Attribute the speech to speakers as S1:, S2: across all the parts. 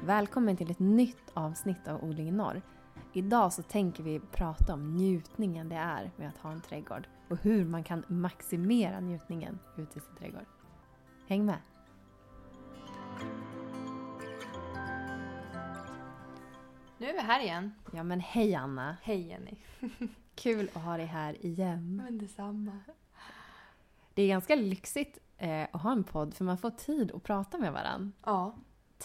S1: Välkommen till ett nytt avsnitt av Odling i norr. Idag så tänker vi prata om njutningen det är med att ha en trädgård och hur man kan maximera njutningen ute i sin trädgård. Häng med!
S2: Nu är vi här igen.
S1: Ja men hej Anna!
S2: Hej Jenny.
S1: Kul att ha dig här igen.
S2: Men detsamma.
S1: Det är ganska lyxigt eh, att ha en podd för man får tid att prata med varandra.
S2: Ja,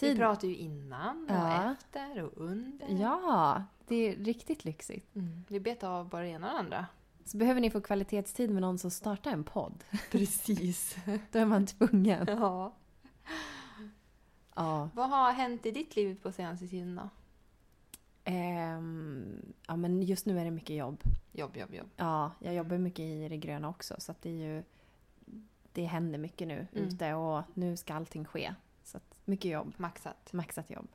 S2: vi
S1: Tid...
S2: pratade ju innan och
S1: Ja.
S2: efter och under.
S1: Ja, det är riktigt lyxigt.
S2: Mm, vi bet av bara det ena och det andra.
S1: Så behöver ni få kvalitetstid med någon som startar en podd,
S2: Precis.
S1: då är man tvungen.
S2: ja.
S1: Ja.
S2: Vad har hänt i ditt liv på senaste tiden då?
S1: Ehm, ja, men just nu är det mycket jobb.
S2: Jobb, jobb, jobb.
S1: Ja, jag jobbar mycket i det gröna också så att det är ju... Det händer mycket nu
S2: Mm.
S1: ute och nu ska allting ske. Så att mycket jobb.
S2: Maxat.
S1: Maxat jobb.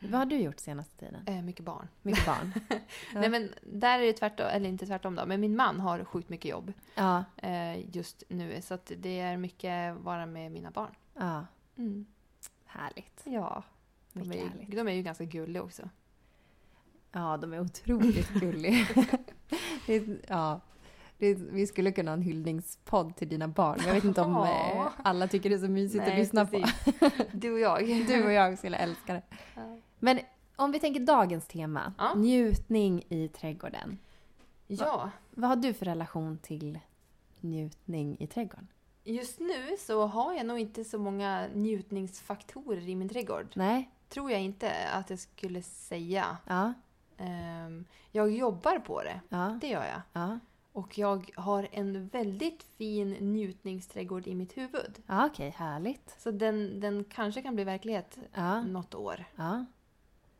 S2: Mm.
S1: Vad har du gjort senaste tiden?
S2: Eh, mycket barn.
S1: Mycket barn? Ja.
S2: Nej men där är det tvärtom, eller inte tvärtom då, men min man har sjukt mycket jobb
S1: ja.
S2: eh, just nu. Så att det är mycket vara med mina barn.
S1: ja.
S2: Mm.
S1: Härligt.
S2: Ja. De
S1: Mycket
S2: är,
S1: härligt.
S2: ju- de är ju ganska gulliga också.
S1: Ja, de är otroligt gulliga. det, är- ja. det, vi skulle kunna ha en hyllningspodd till dina barn. Jag vet inte om
S2: Ja.
S1: eh, alla tycker det är så mysigt att lyssna på.
S2: precis. Du och jag.
S1: Du och jag skulle älska det.
S2: Ja.
S1: Men om vi tänker dagens tema,
S2: Ja.
S1: njutning i trädgården.
S2: Ja,
S1: Vad har du för relation till njutning i trädgården?
S2: just nu så har jag nog inte så många njutningsfaktorer i min trädgård.
S1: Nej?
S2: Tror jag inte att jag skulle säga.
S1: Ja.
S2: Ehm, Jag jobbar på det,
S1: Ja.
S2: det gör jag.
S1: Ja.
S2: Och jag har en väldigt fin njutningsträdgård i mitt huvud.
S1: Ja, okej, härligt.
S2: Så den, den kanske kan bli verklighet
S1: Ja.
S2: något år.
S1: Ja.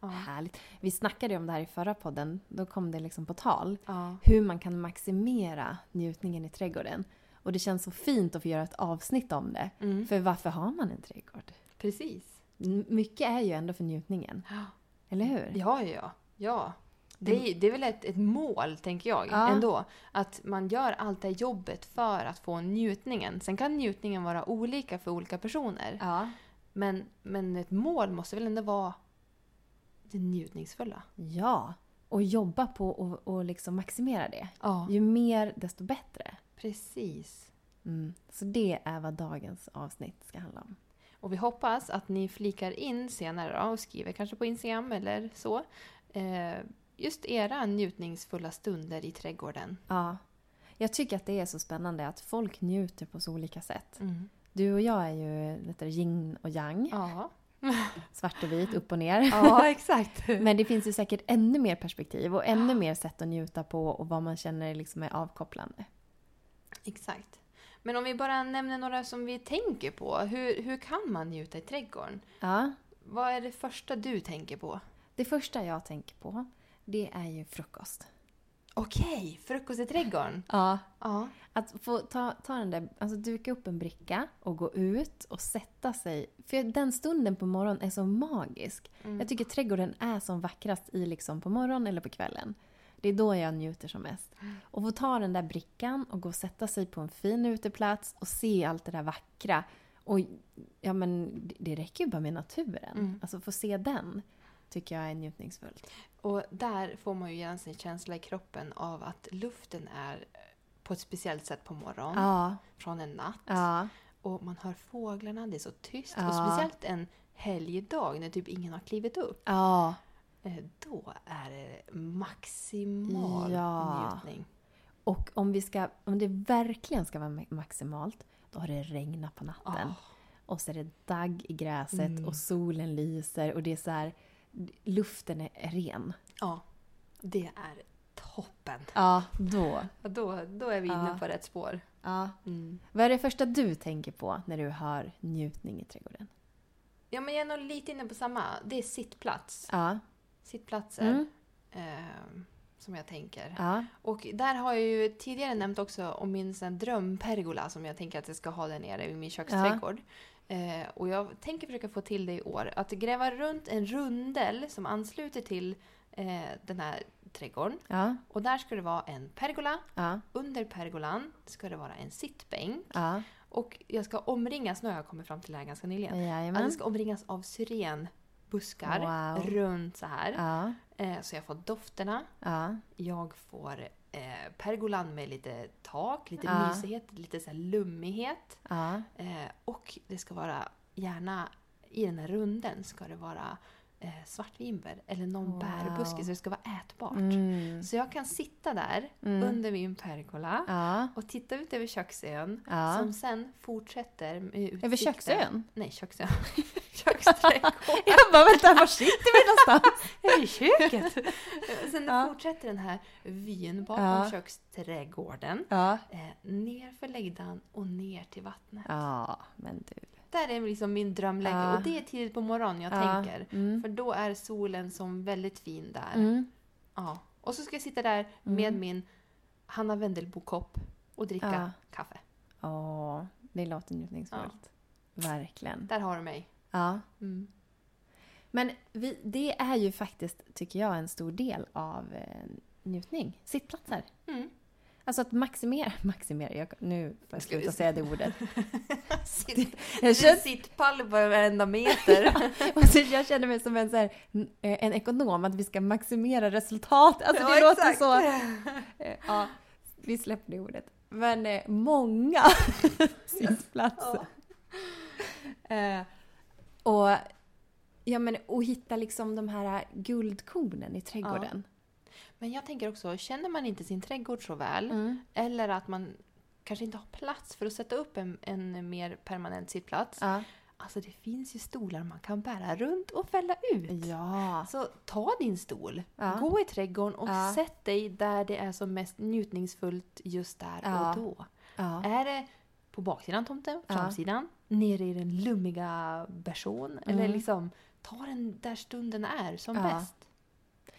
S2: Ja.
S1: Härligt. Vi snackade ju om det här i förra podden. Då kom det liksom på tal.
S2: Ja.
S1: Hur man kan maximera njutningen i trädgården. Och det känns så fint att få göra ett avsnitt om det.
S2: Mm.
S1: För varför har man en trädgård?
S2: Precis.
S1: N- Mycket är ju ändå för njutningen.
S2: Ja.
S1: Eller hur?
S2: Ja, ja, ja. ja. Det, är, det är väl ett, ett mål, tänker jag,
S1: Ja.
S2: ändå. Att man gör allt det här jobbet för att få njutningen. Sen kan njutningen vara olika för olika personer.
S1: Ja.
S2: Men, men ett mål måste väl ändå vara det njutningsfulla?
S1: Ja, och jobba på och, och liksom maximera det.
S2: Ja,
S1: Ju mer, desto bättre.
S2: precis.
S1: Mm. Så det är vad dagens avsnitt ska handla om.
S2: Och vi hoppas att ni flikar in senare då och skriver kanske på Instagram eller så. Eh, just era njutningsfulla stunder i trädgården.
S1: Ja. Jag tycker att det är så spännande att folk njuter på så olika sätt.
S2: Mm.
S1: Du och jag är ju vad heter det, yin och yang,
S2: Ja.
S1: svart och vit, upp och ner.
S2: ja, exakt.
S1: Men det finns ju säkert ännu mer perspektiv och ännu mer sätt att njuta på och vad man känner liksom är avkopplande.
S2: Exakt. Men om vi bara nämner några som vi tänker på. Hur, hur kan man njuta i trädgården?
S1: Ja.
S2: Vad är det första du tänker på?
S1: Det första jag tänker på, det är ju frukost.
S2: Okej, frukost i trädgården.
S1: Ja,
S2: Ja.
S1: Att få ta, ta den där, alltså duka upp en bricka och gå ut och sätta sig. För den stunden på morgonen är så magisk.
S2: Mm.
S1: Jag tycker trädgården är som vackrast i liksom på morgonen eller på kvällen. Det är då jag njuter som mest. Och få ta den där brickan och gå och sätta sig på en fin uteplats och se allt det där vackra. Och ja men det- det räcker ju bara med naturen.
S2: Mm.
S1: Alltså få se den tycker jag är njutningsfullt.
S2: Och där får man ju igen sin känsla i kroppen av att luften är eh, på ett speciellt sätt på morgonen,
S1: Ja,
S2: från en natt.
S1: ja,
S2: Och man hör fåglarna, det är så tyst.
S1: Ja.
S2: Och speciellt en helgdag när typ ingen har klivit upp.
S1: ja.
S2: Eh, Då är det maximal
S1: Ja.
S2: njutning.
S1: Och om, vi ska, om det verkligen ska vara ma- maximalt, då har det regnat på natten.
S2: Ah.
S1: Och så är det dagg i gräset
S2: Mm.
S1: och solen lyser och det är så här, luften är är ren.
S2: Ja, det är toppen.
S1: Ja, då.
S2: Ja, Då, då är vi inne
S1: Ja.
S2: på rätt spår.
S1: Ja.
S2: Mm.
S1: Vad är det första du tänker på när du hör njutning i trädgården?
S2: Ja, men jag är nog lite inne på samma. Det är sittplats.
S1: Ja.
S2: Sittplatser.
S1: Mm.
S2: ehm, som jag tänker.
S1: Ja.
S2: Och där har jag ju tidigare nämnt också om min sån här drömpergola som jag tänker att jag ska ha där nere i min köksträdgård. Eh, och jag tänker försöka få till det i år. Att gräva runt en rundel som ansluter till eh, den här trädgården.
S1: Ja.
S2: Och där ska det vara en pergola.
S1: Ja.
S2: Under pergolan ska det vara en sittbänk.
S1: Ja.
S2: Och jag ska omringas, nu har jag kommit fram till det här ganska nyligen, att
S1: Jajamän.
S2: jag ska omringas av syrenbuskar. buskar
S1: Wow.
S2: runt så här.
S1: Ja.
S2: Eh, så jag får dofterna.
S1: Ja.
S2: Jag får eh, pergolan med lite tak, lite
S1: Ja.
S2: mysighet, lite så här lummighet.
S1: Ja.
S2: Eh, och det ska vara gärna, i den här runden ska det vara eh, svartvinbär eller någon
S1: Wow.
S2: bärbuske så det ska vara ätbart.
S1: Mm.
S2: Så jag kan sitta där
S1: Mm.
S2: under min pergola
S1: Ja.
S2: och titta ut över köksön
S1: Ja.
S2: som sen fortsätter med utsikten.
S1: Över köksön?
S2: Nej, köksön. Köksträdgården.
S1: Jag bara vänta, var sitter vi någonstans?
S2: Över köket! sen
S1: Ja.
S2: fortsätter den här vyn bakom
S1: Ja.
S2: köksträdgården.
S1: Ja.
S2: Eh, ner för läggdan och ner till vattnet.
S1: Ja, men du.
S2: Där är liksom min drömläge
S1: Ja.
S2: och det är tidigt på morgonen jag
S1: Ja.
S2: tänker.
S1: Mm.
S2: För då är solen som väldigt fin där.
S1: Mm.
S2: Ja. Och så ska jag sitta där med min Hanna Wendelbo-kopp och dricka
S1: Ja.
S2: kaffe.
S1: Åh, det låter njutningsfullt. Verkligen.
S2: Där har du mig.
S1: Ja.
S2: Mm.
S1: Men vi, det är ju faktiskt, tycker jag, en stor del av eh, njutning. Sittplatser.
S2: Mm.
S1: Alltså att maximera, maximera, jag, nu får jag
S2: Ska vi
S1: sluta
S2: se.
S1: säga det ordet.
S2: Sitt,
S1: Jag känner,
S2: sittpall på varenda meter.
S1: och så jag känner mig som en, så här, eh, en ekonom, att vi ska maximera resultat. Alltså det
S2: Ja,
S1: låter
S2: exakt.
S1: så... Eh, Ja, vi släpper det ordet. Men eh, många sittplatser. Eh, och, ja, men, och hitta liksom de här guldkornen i trädgården.
S2: Men jag tänker också, känner man inte sin trädgård så väl
S1: Mm.
S2: eller att man kanske inte har plats för att sätta upp en, en mer permanent sittplats.
S1: Ja.
S2: Alltså det finns ju stolar man kan bära runt och fälla ut.
S1: ja.
S2: Så ta din stol,
S1: Ja.
S2: gå i trädgården och
S1: Ja.
S2: sätt dig där det är som mest njutningsfullt just där
S1: Ja.
S2: och då.
S1: ja.
S2: Är det på baksidan tomten,
S1: Ja.
S2: framsidan, nere i den lummiga version eller liksom ta den där stunden är som
S1: Mm. Ja.
S2: bäst.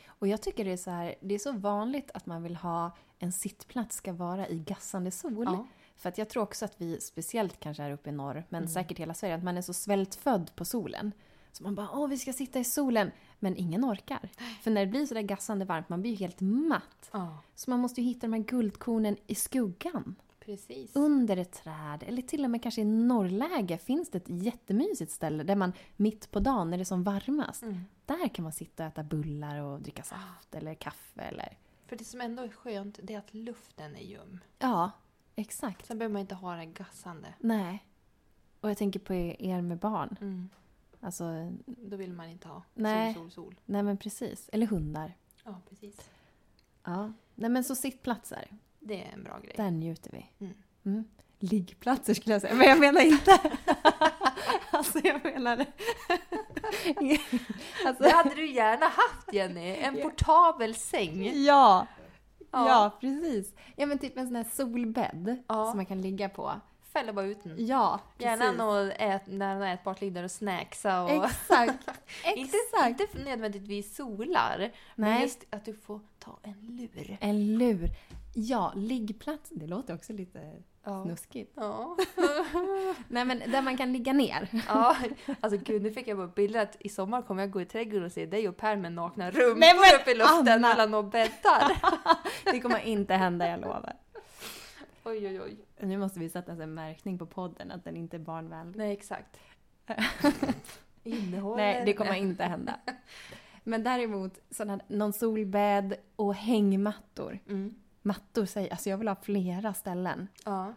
S1: Och jag tycker det är så här, det är så vanligt att man vill ha en sittplats ska vara i gassande sol.
S2: Ja.
S1: För att jag tror också att vi, speciellt kanske här uppe i norr, men säkert hela Sverige, att man är så svältfödd på solen. Så man bara åh vi ska sitta i solen, men ingen orkar. För när det blir sådär gassande varmt, man blir ju helt matt.
S2: Ja,
S1: Så man måste ju hitta de här guldkornen i skuggan.
S2: precis.
S1: Under ett träd, eller till och med kanske i norrläge finns det ett jättemysigt ställe där man mitt på dagen, när det är som varmast,
S2: Mm.
S1: där kan man sitta och äta bullar och dricka saft eller kaffe eller...
S2: För det som ändå är skönt det är att luften är ljum.
S1: Ja, exakt.
S2: Sen behöver man inte ha det gassande.
S1: Nej. Och jag tänker på er med barn.
S2: Mm.
S1: Alltså,
S2: Då vill man inte ha
S1: Nej.
S2: sol, sol, sol.
S1: nej men precis. Eller hundar.
S2: Ja, precis.
S1: Ja. Nej men så sittplatser,
S2: Det är en bra grej.
S1: där njuter vi.
S2: Mm.
S1: Mm. Liggplatser skulle jag säga, men jag menar inte... alltså jag menar... alltså,
S2: Det hade du gärna haft Jenny! En portabel säng.
S1: ja.
S2: Ja.
S1: ja! precis. Ja men typ en sån här solbädd
S2: Ja.
S1: som man kan ligga på.
S2: Fälla bara ut den.
S1: Ja, precis.
S2: Gärna någon ät, när något ätbart ligger där och snacksa och...
S1: Exakt.
S2: Inte,
S1: Exakt.
S2: inte nödvändigtvis solar. Men
S1: Nej.
S2: just att du får ta en lur.
S1: En lur. Ja, liggplats. Det låter också lite
S2: Ja.
S1: snuskigt.
S2: Ja.
S1: Nej men där man kan ligga ner.
S2: ja. Alltså gud, nu fick jag bara bilder att i sommar kommer jag gå i trädgården och se dig och Per med nakna rumpor
S1: Nej, men
S2: uppe i luften
S1: Anna!
S2: mellan några bäddar.
S1: Det kommer inte hända, jag lovar.
S2: oj, oj, oj.
S1: Nu måste vi sätta en märkning på podden att den inte är barnvänlig.
S2: Nej, exakt. Innehåller...
S1: Nej, det kommer inte hända. Men däremot sådana, någon solbädd och hängmattor.
S2: Mm.
S1: Mattor säger alltså jag vill ha flera ställen.
S2: Ja.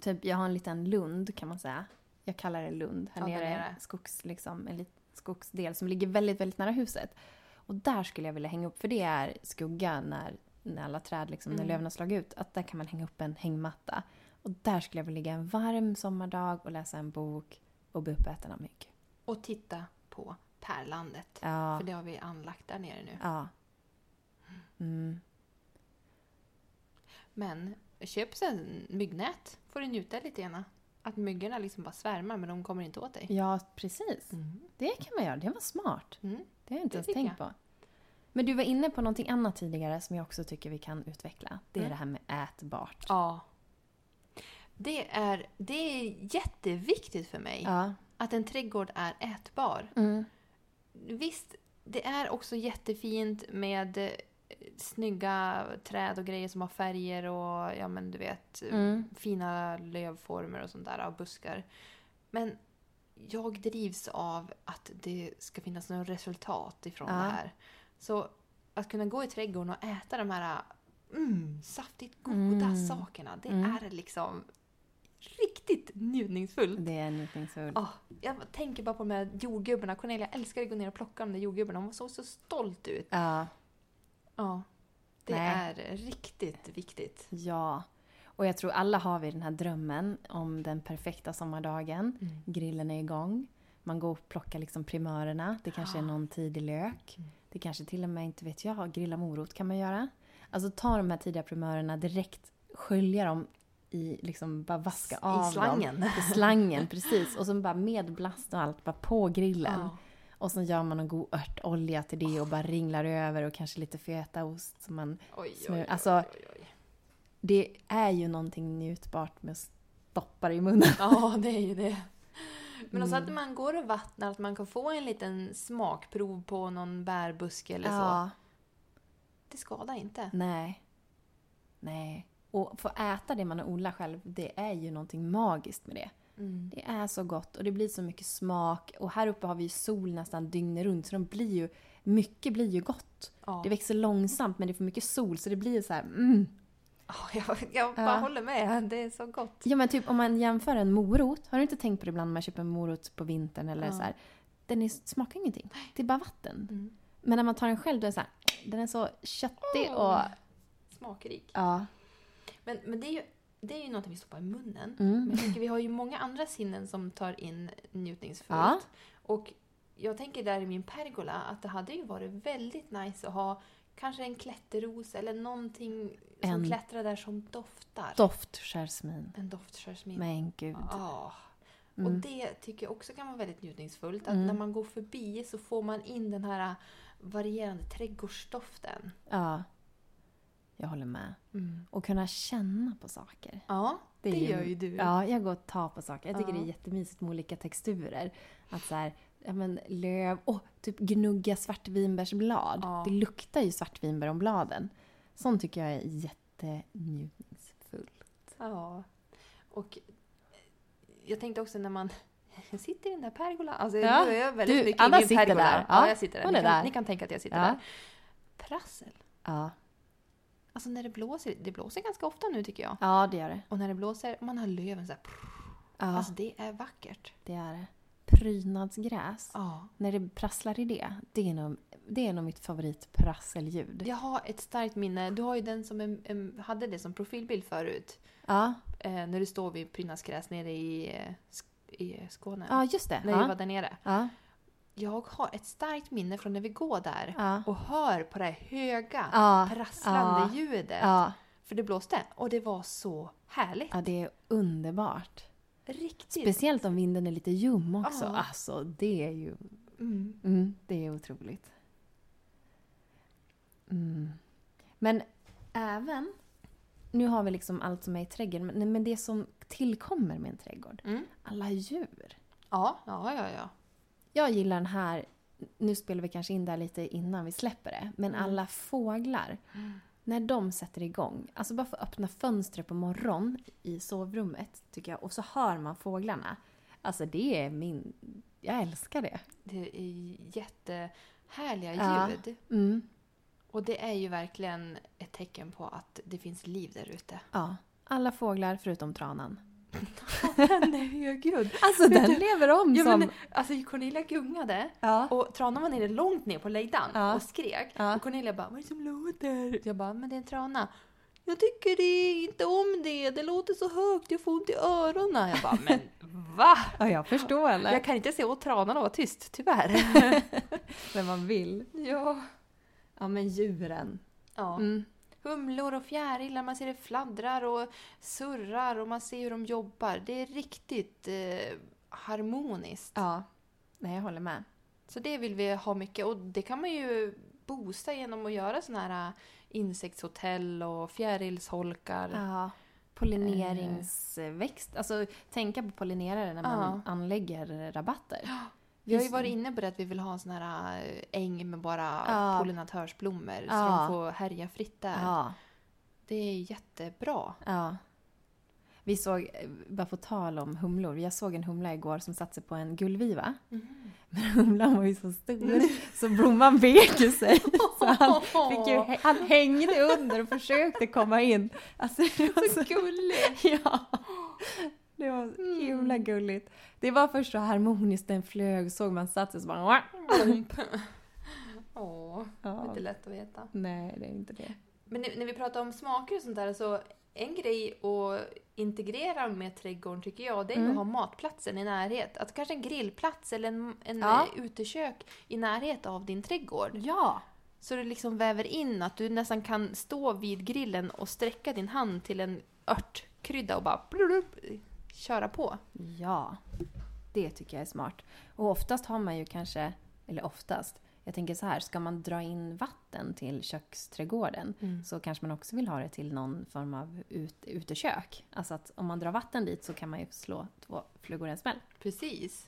S1: Typ jag har en liten lund kan man säga. Jag kallar det lund. Här
S2: Ja, där
S1: nere
S2: nere.
S1: är skogs, liksom, en lit- skogsdel som ligger väldigt, väldigt nära huset. Och där skulle jag vilja hänga upp, för det är skugga när, när alla träd, liksom,
S2: Mm.
S1: när löven har slagit ut, att där kan man hänga upp en hängmatta. Och där skulle jag vilja ligga en varm sommardag och läsa en bok och bli uppäten av mygg.
S2: Och titta på Pärlandet.
S1: Ja,
S2: Typ. För det har vi anlagt där nere nu.
S1: ja. Mm.
S2: Men köp sen myggnät. får du njuta lite gärna. Att myggorna liksom bara svärmar men de kommer inte åt dig.
S1: ja, precis.
S2: Mm.
S1: Det kan man göra, det var smart.
S2: Mm.
S1: Det har jag inte
S2: Det
S1: ens
S2: tycker
S1: tänkt på. Men du var inne på någonting annat tidigare som jag också tycker vi kan utveckla. Det är
S2: Mm.
S1: det här med ätbart.
S2: Ja. Det är, det är jätteviktigt för mig
S1: Ja.
S2: att en trädgård är ätbar.
S1: Mm.
S2: Visst, det är också jättefint med eh, snygga träd och grejer som har färger och ja men du vet eh,
S1: Mm.
S2: fina lövformer och sånt där och buskar. Men jag drivs av att det ska finnas något resultat ifrån
S1: Ja.
S2: det här. Så att kunna gå i trädgården och äta de här mm, saftigt goda
S1: Mm.
S2: sakerna, det
S1: Mm.
S2: är liksom riktigt njutningsfullt.
S1: Det är en njutningsfull.
S2: Ja, jag tänker bara på de här jordgubbarna. Cornelia älskade att gå ner och plocka de där jordgubbarna. Hon såg så stolt ut.
S1: Ja.
S2: Ja. Det
S1: Nej.
S2: är riktigt viktigt.
S1: Ja. Och jag tror alla har vi den här drömmen om den perfekta sommardagen.
S2: Mm.
S1: Grillen är igång. Man går och plockar liksom primörerna. Det kanske är
S2: Ja.
S1: någon tidig lök.
S2: Mm.
S1: Det kanske till och med, inte vet jag, grilla morot kan man göra. Alltså ta de här tidiga primörerna direkt, skölja dem i, liksom bara vaska av
S2: I
S1: dem.
S2: slangen.
S1: I slangen, precis. Och sen bara med blast och allt, bara på grillen.
S2: Ja.
S1: Och sen gör man någon god örtolja till det och bara ringlar över och kanske lite fetaost. Så man,
S2: Oj, oj,
S1: Smör.
S2: oj,
S1: Alltså-
S2: oj, oj.
S1: det är ju någonting njutbart med att stoppa det i munnen.
S2: Ja, det är ju det. Men också
S1: Mm.
S2: att man går och vattnar, att man kan få en liten smakprov på någon bärbuske eller så. Det skadar
S1: Mm.
S2: inte.
S1: Nej. Nej. Och få äta det man odlar själv, det är ju någonting magiskt med det.
S2: Mm.
S1: Det är så gott och det blir så mycket smak. Och här uppe har vi ju sol nästan dygnet runt så de blir ju, mycket blir ju gott.
S2: Ja.
S1: Det växer långsamt men det är för mycket sol så det blir ju så här, mm.
S2: Ja, jag, jag bara
S1: Ja.
S2: håller med, det är så gott.
S1: Ja men typ om man jämför en morot, har du inte tänkt på det ibland när man köper en morot på vintern eller
S2: Ja.
S1: så här, den är, smakar ingenting. Det är bara vatten.
S2: Mm.
S1: Men när man tar den själv då är den så här, den är så köttig och...
S2: Åh, Smakrik.
S1: Ja.
S2: Men, men det är ju det är ju någonting vi stoppar i munnen.
S1: Mm.
S2: Men jag tänker, vi har ju många andra sinnen som tar in njutningsfullt.
S1: Ja.
S2: Och jag tänker där i min pergola att det hade ju varit väldigt nice att ha kanske en klätterros eller någonting som
S1: En-
S2: klättrar där som doftar.
S1: Doftjasmin.
S2: en doftkörsmin.
S1: Men gud.
S2: Ja. Och
S1: Mm.
S2: det tycker jag också kan vara väldigt njutningsfullt. Att
S1: Mm.
S2: när man går förbi så får man in den här varierande trädgårdsdoften.
S1: Ja. Jag håller med. Och kunna känna på saker.
S2: Ja, det,
S1: Mm. är
S2: gör ju du.
S1: Ja, jag går och tar på saker. Jag tycker
S2: Ja.
S1: det är jättemysigt med olika texturer. Att så här, ja men löv, åh, typ gnugga svartvinbärsblad.
S2: Ja.
S1: Det luktar ju svartvinbär om bladen. Sånt tycker jag är jättenjutningsfullt.
S2: Ja. Och eh, jag tänkte också när man jag sitter i den där pergolan. Alltså nu
S1: Ja.
S2: är jag väldigt
S1: Du,
S2: mycket i
S1: Anna
S2: min
S1: sitter
S2: pergola.
S1: där.
S2: Ja,
S1: Ja,
S2: jag sitter där.
S1: hon
S2: Ni
S1: är
S2: kan,
S1: där.
S2: ni kan tänka att jag sitter
S1: Ja.
S2: där. Prassel.
S1: Ja.
S2: Alltså när det blåser, det blåser ganska ofta nu tycker jag.
S1: ja, det gör det.
S2: Och när det blåser, man har löven så här, prr,
S1: Ja,
S2: Alltså det är vackert.
S1: det är det. Prydnadsgräs.
S2: Ja.
S1: När det prasslar i det, det är nog, det är nog mitt favoritprasselljud.
S2: Jag har ett starkt minne. Du har ju den som en, en, hade det som profilbild förut.
S1: Ja,
S2: Eh, när du står vid prydnadsgräs nere i, eh, Sk- i Skåne.
S1: ja just det.
S2: När vi var
S1: Ja.
S2: där nere.
S1: Ja.
S2: Jag har ett starkt minne från när vi går där.
S1: Ja.
S2: och hör på det här höga
S1: Ja,
S2: prasslande
S1: ja,
S2: ljudet.
S1: Ja.
S2: För det blåste och det var så härligt.
S1: ja, det är underbart.
S2: Riktigt.
S1: Speciellt om vinden är lite ljum också.
S2: Ja.
S1: Alltså, det är ju...
S2: mm.
S1: Mm, det är otroligt. Mm. Men även... Nu har vi liksom allt som är i trädgården, men, men det som tillkommer med en trädgård.
S2: Mm.
S1: Alla djur.
S2: Ja, ja, ja, ja.
S1: Jag gillar den här... Nu spelar vi kanske in där lite innan vi släpper det. Men
S2: Mm.
S1: alla fåglar. När de sätter igång, alltså bara få öppna fönstret på morgonen i sovrummet tycker jag och så hör man fåglarna. Alltså det är min, jag älskar det.
S2: Det är jättehärliga
S1: Ja.
S2: ljud.
S1: Mm.
S2: Och det är ju verkligen ett tecken på att det finns liv där ute.
S1: Ja. Alla fåglar förutom tranan.
S2: Den är högljudd.
S1: Alltså den lever om
S2: Ja,
S1: som...
S2: men, alltså Cornelia gungade
S1: ja.
S2: och tranan var nere långt ner på lejdan
S1: Ja.
S2: och skrek.
S1: Ja.
S2: Och Cornelia bara “Vad är det som låter?” Jag bara “Men det är en trana”. “Jag tycker det, inte om det, det låter så högt, jag får ont i öronen”. Jag bara “Men va?”
S1: ja, jag förstår eller?
S2: Jag kan inte se åt tranan och vara tyst, tyvärr.
S1: När man vill.
S2: ja.
S1: Ja men djuren.
S2: ja.
S1: Mm.
S2: Humlor och fjärilar, man ser det fladdrar och surrar och man ser hur de jobbar. Det är riktigt eh, harmoniskt.
S1: Ja. Nej jag håller med.
S2: Så det vill vi ha mycket och det kan man ju boosta genom att göra såna här eh, insektshotell och fjärilsholkar.
S1: Ja. Pollineringsväxt, alltså tänka på pollinerare när man anlägger rabatter.
S2: Vi har ju
S1: Just-
S2: varit inne på det att vi vill ha en sån här eh, äng med bara
S1: Ja.
S2: pollinatörsblommor så
S1: Ja.
S2: de får härja fritt där.
S1: Ja.
S2: Det är jättebra.
S1: Ja. Vi såg, eh, bara på tal om humlor, jag såg en humla igår som satte sig på en gullviva. Men humlan var ju så stor så blomman vek ju sig. Så han, fick ju, han hängde under och försökte komma in. Alltså, det var så, Mm.
S2: Gullig!
S1: ja. Det var så himla gulligt. Det var först så harmoniskt, den flög, såg man satt sig så bara... "Wah!"
S2: Åh,
S1: Ja.
S2: inte lätt att veta.
S1: Nej, det är inte det.
S2: Men nu- när vi pratar om smaker och sånt där så en grej att integrera med trädgården tycker jag, det är ju
S1: Mm.
S2: att ha matplatsen i närhet. Att kanske en grillplats eller en, en
S1: Ja.
S2: eh, utekök i närhet av din trädgård.
S1: Ja!
S2: Så du liksom väver in att du nästan kan stå vid grillen och sträcka din hand till en örtkrydda och bara blulup, köra på.
S1: Ja, det tycker jag är smart. Och oftast har man ju kanske, eller oftast, jag tänker så här, ska man dra in vatten till köksträdgården så kanske man också vill ha det till någon form av ut, utekök. Alltså att om man drar vatten dit så kan man ju slå två flugor i en smäll.
S2: Precis.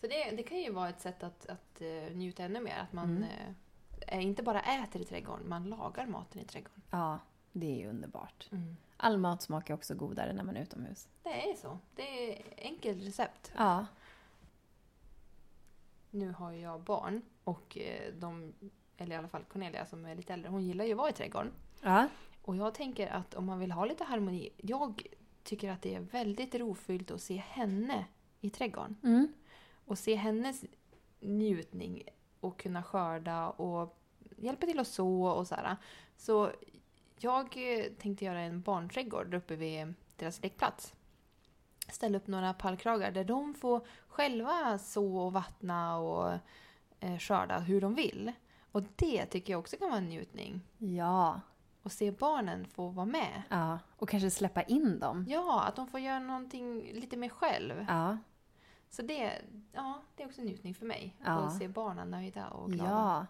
S2: Så det, det kan ju vara ett sätt att, att eh, njuta ännu mer. Att man eh, inte bara äter i trädgården, man lagar maten i trädgården.
S1: Ja, det är ju underbart. All mat smakar också godare när man är utomhus.
S2: Det är så. Det är enkelt recept.
S1: Ja.
S2: Nu har ju jag barn och eh, de, eller i alla fall Cornelia som är lite äldre, hon gillar ju att vara i trädgården.
S1: Ja.
S2: Och jag tänker att om man vill ha lite harmoni, jag tycker att det är väldigt rofyllt att se henne i trädgården.
S1: Mm.
S2: Och se hennes njutning och kunna skörda och hjälpa till att så och så här. Så jag eh, tänkte göra en barnträdgård där uppe vid deras lekplats. Ställa upp några pallkragar där de får själva så och vattna och eh, skörda hur de vill. Och det tycker jag också kan vara en njutning.
S1: Ja.
S2: Och se barnen få vara med.
S1: ja. Och kanske släppa in dem.
S2: Ja, att de får göra någonting lite mer själv.
S1: Ja.
S2: Så det, ja, det är också en njutning för mig.
S1: Ja.
S2: Att se barnen nöjda och glada.
S1: Ja.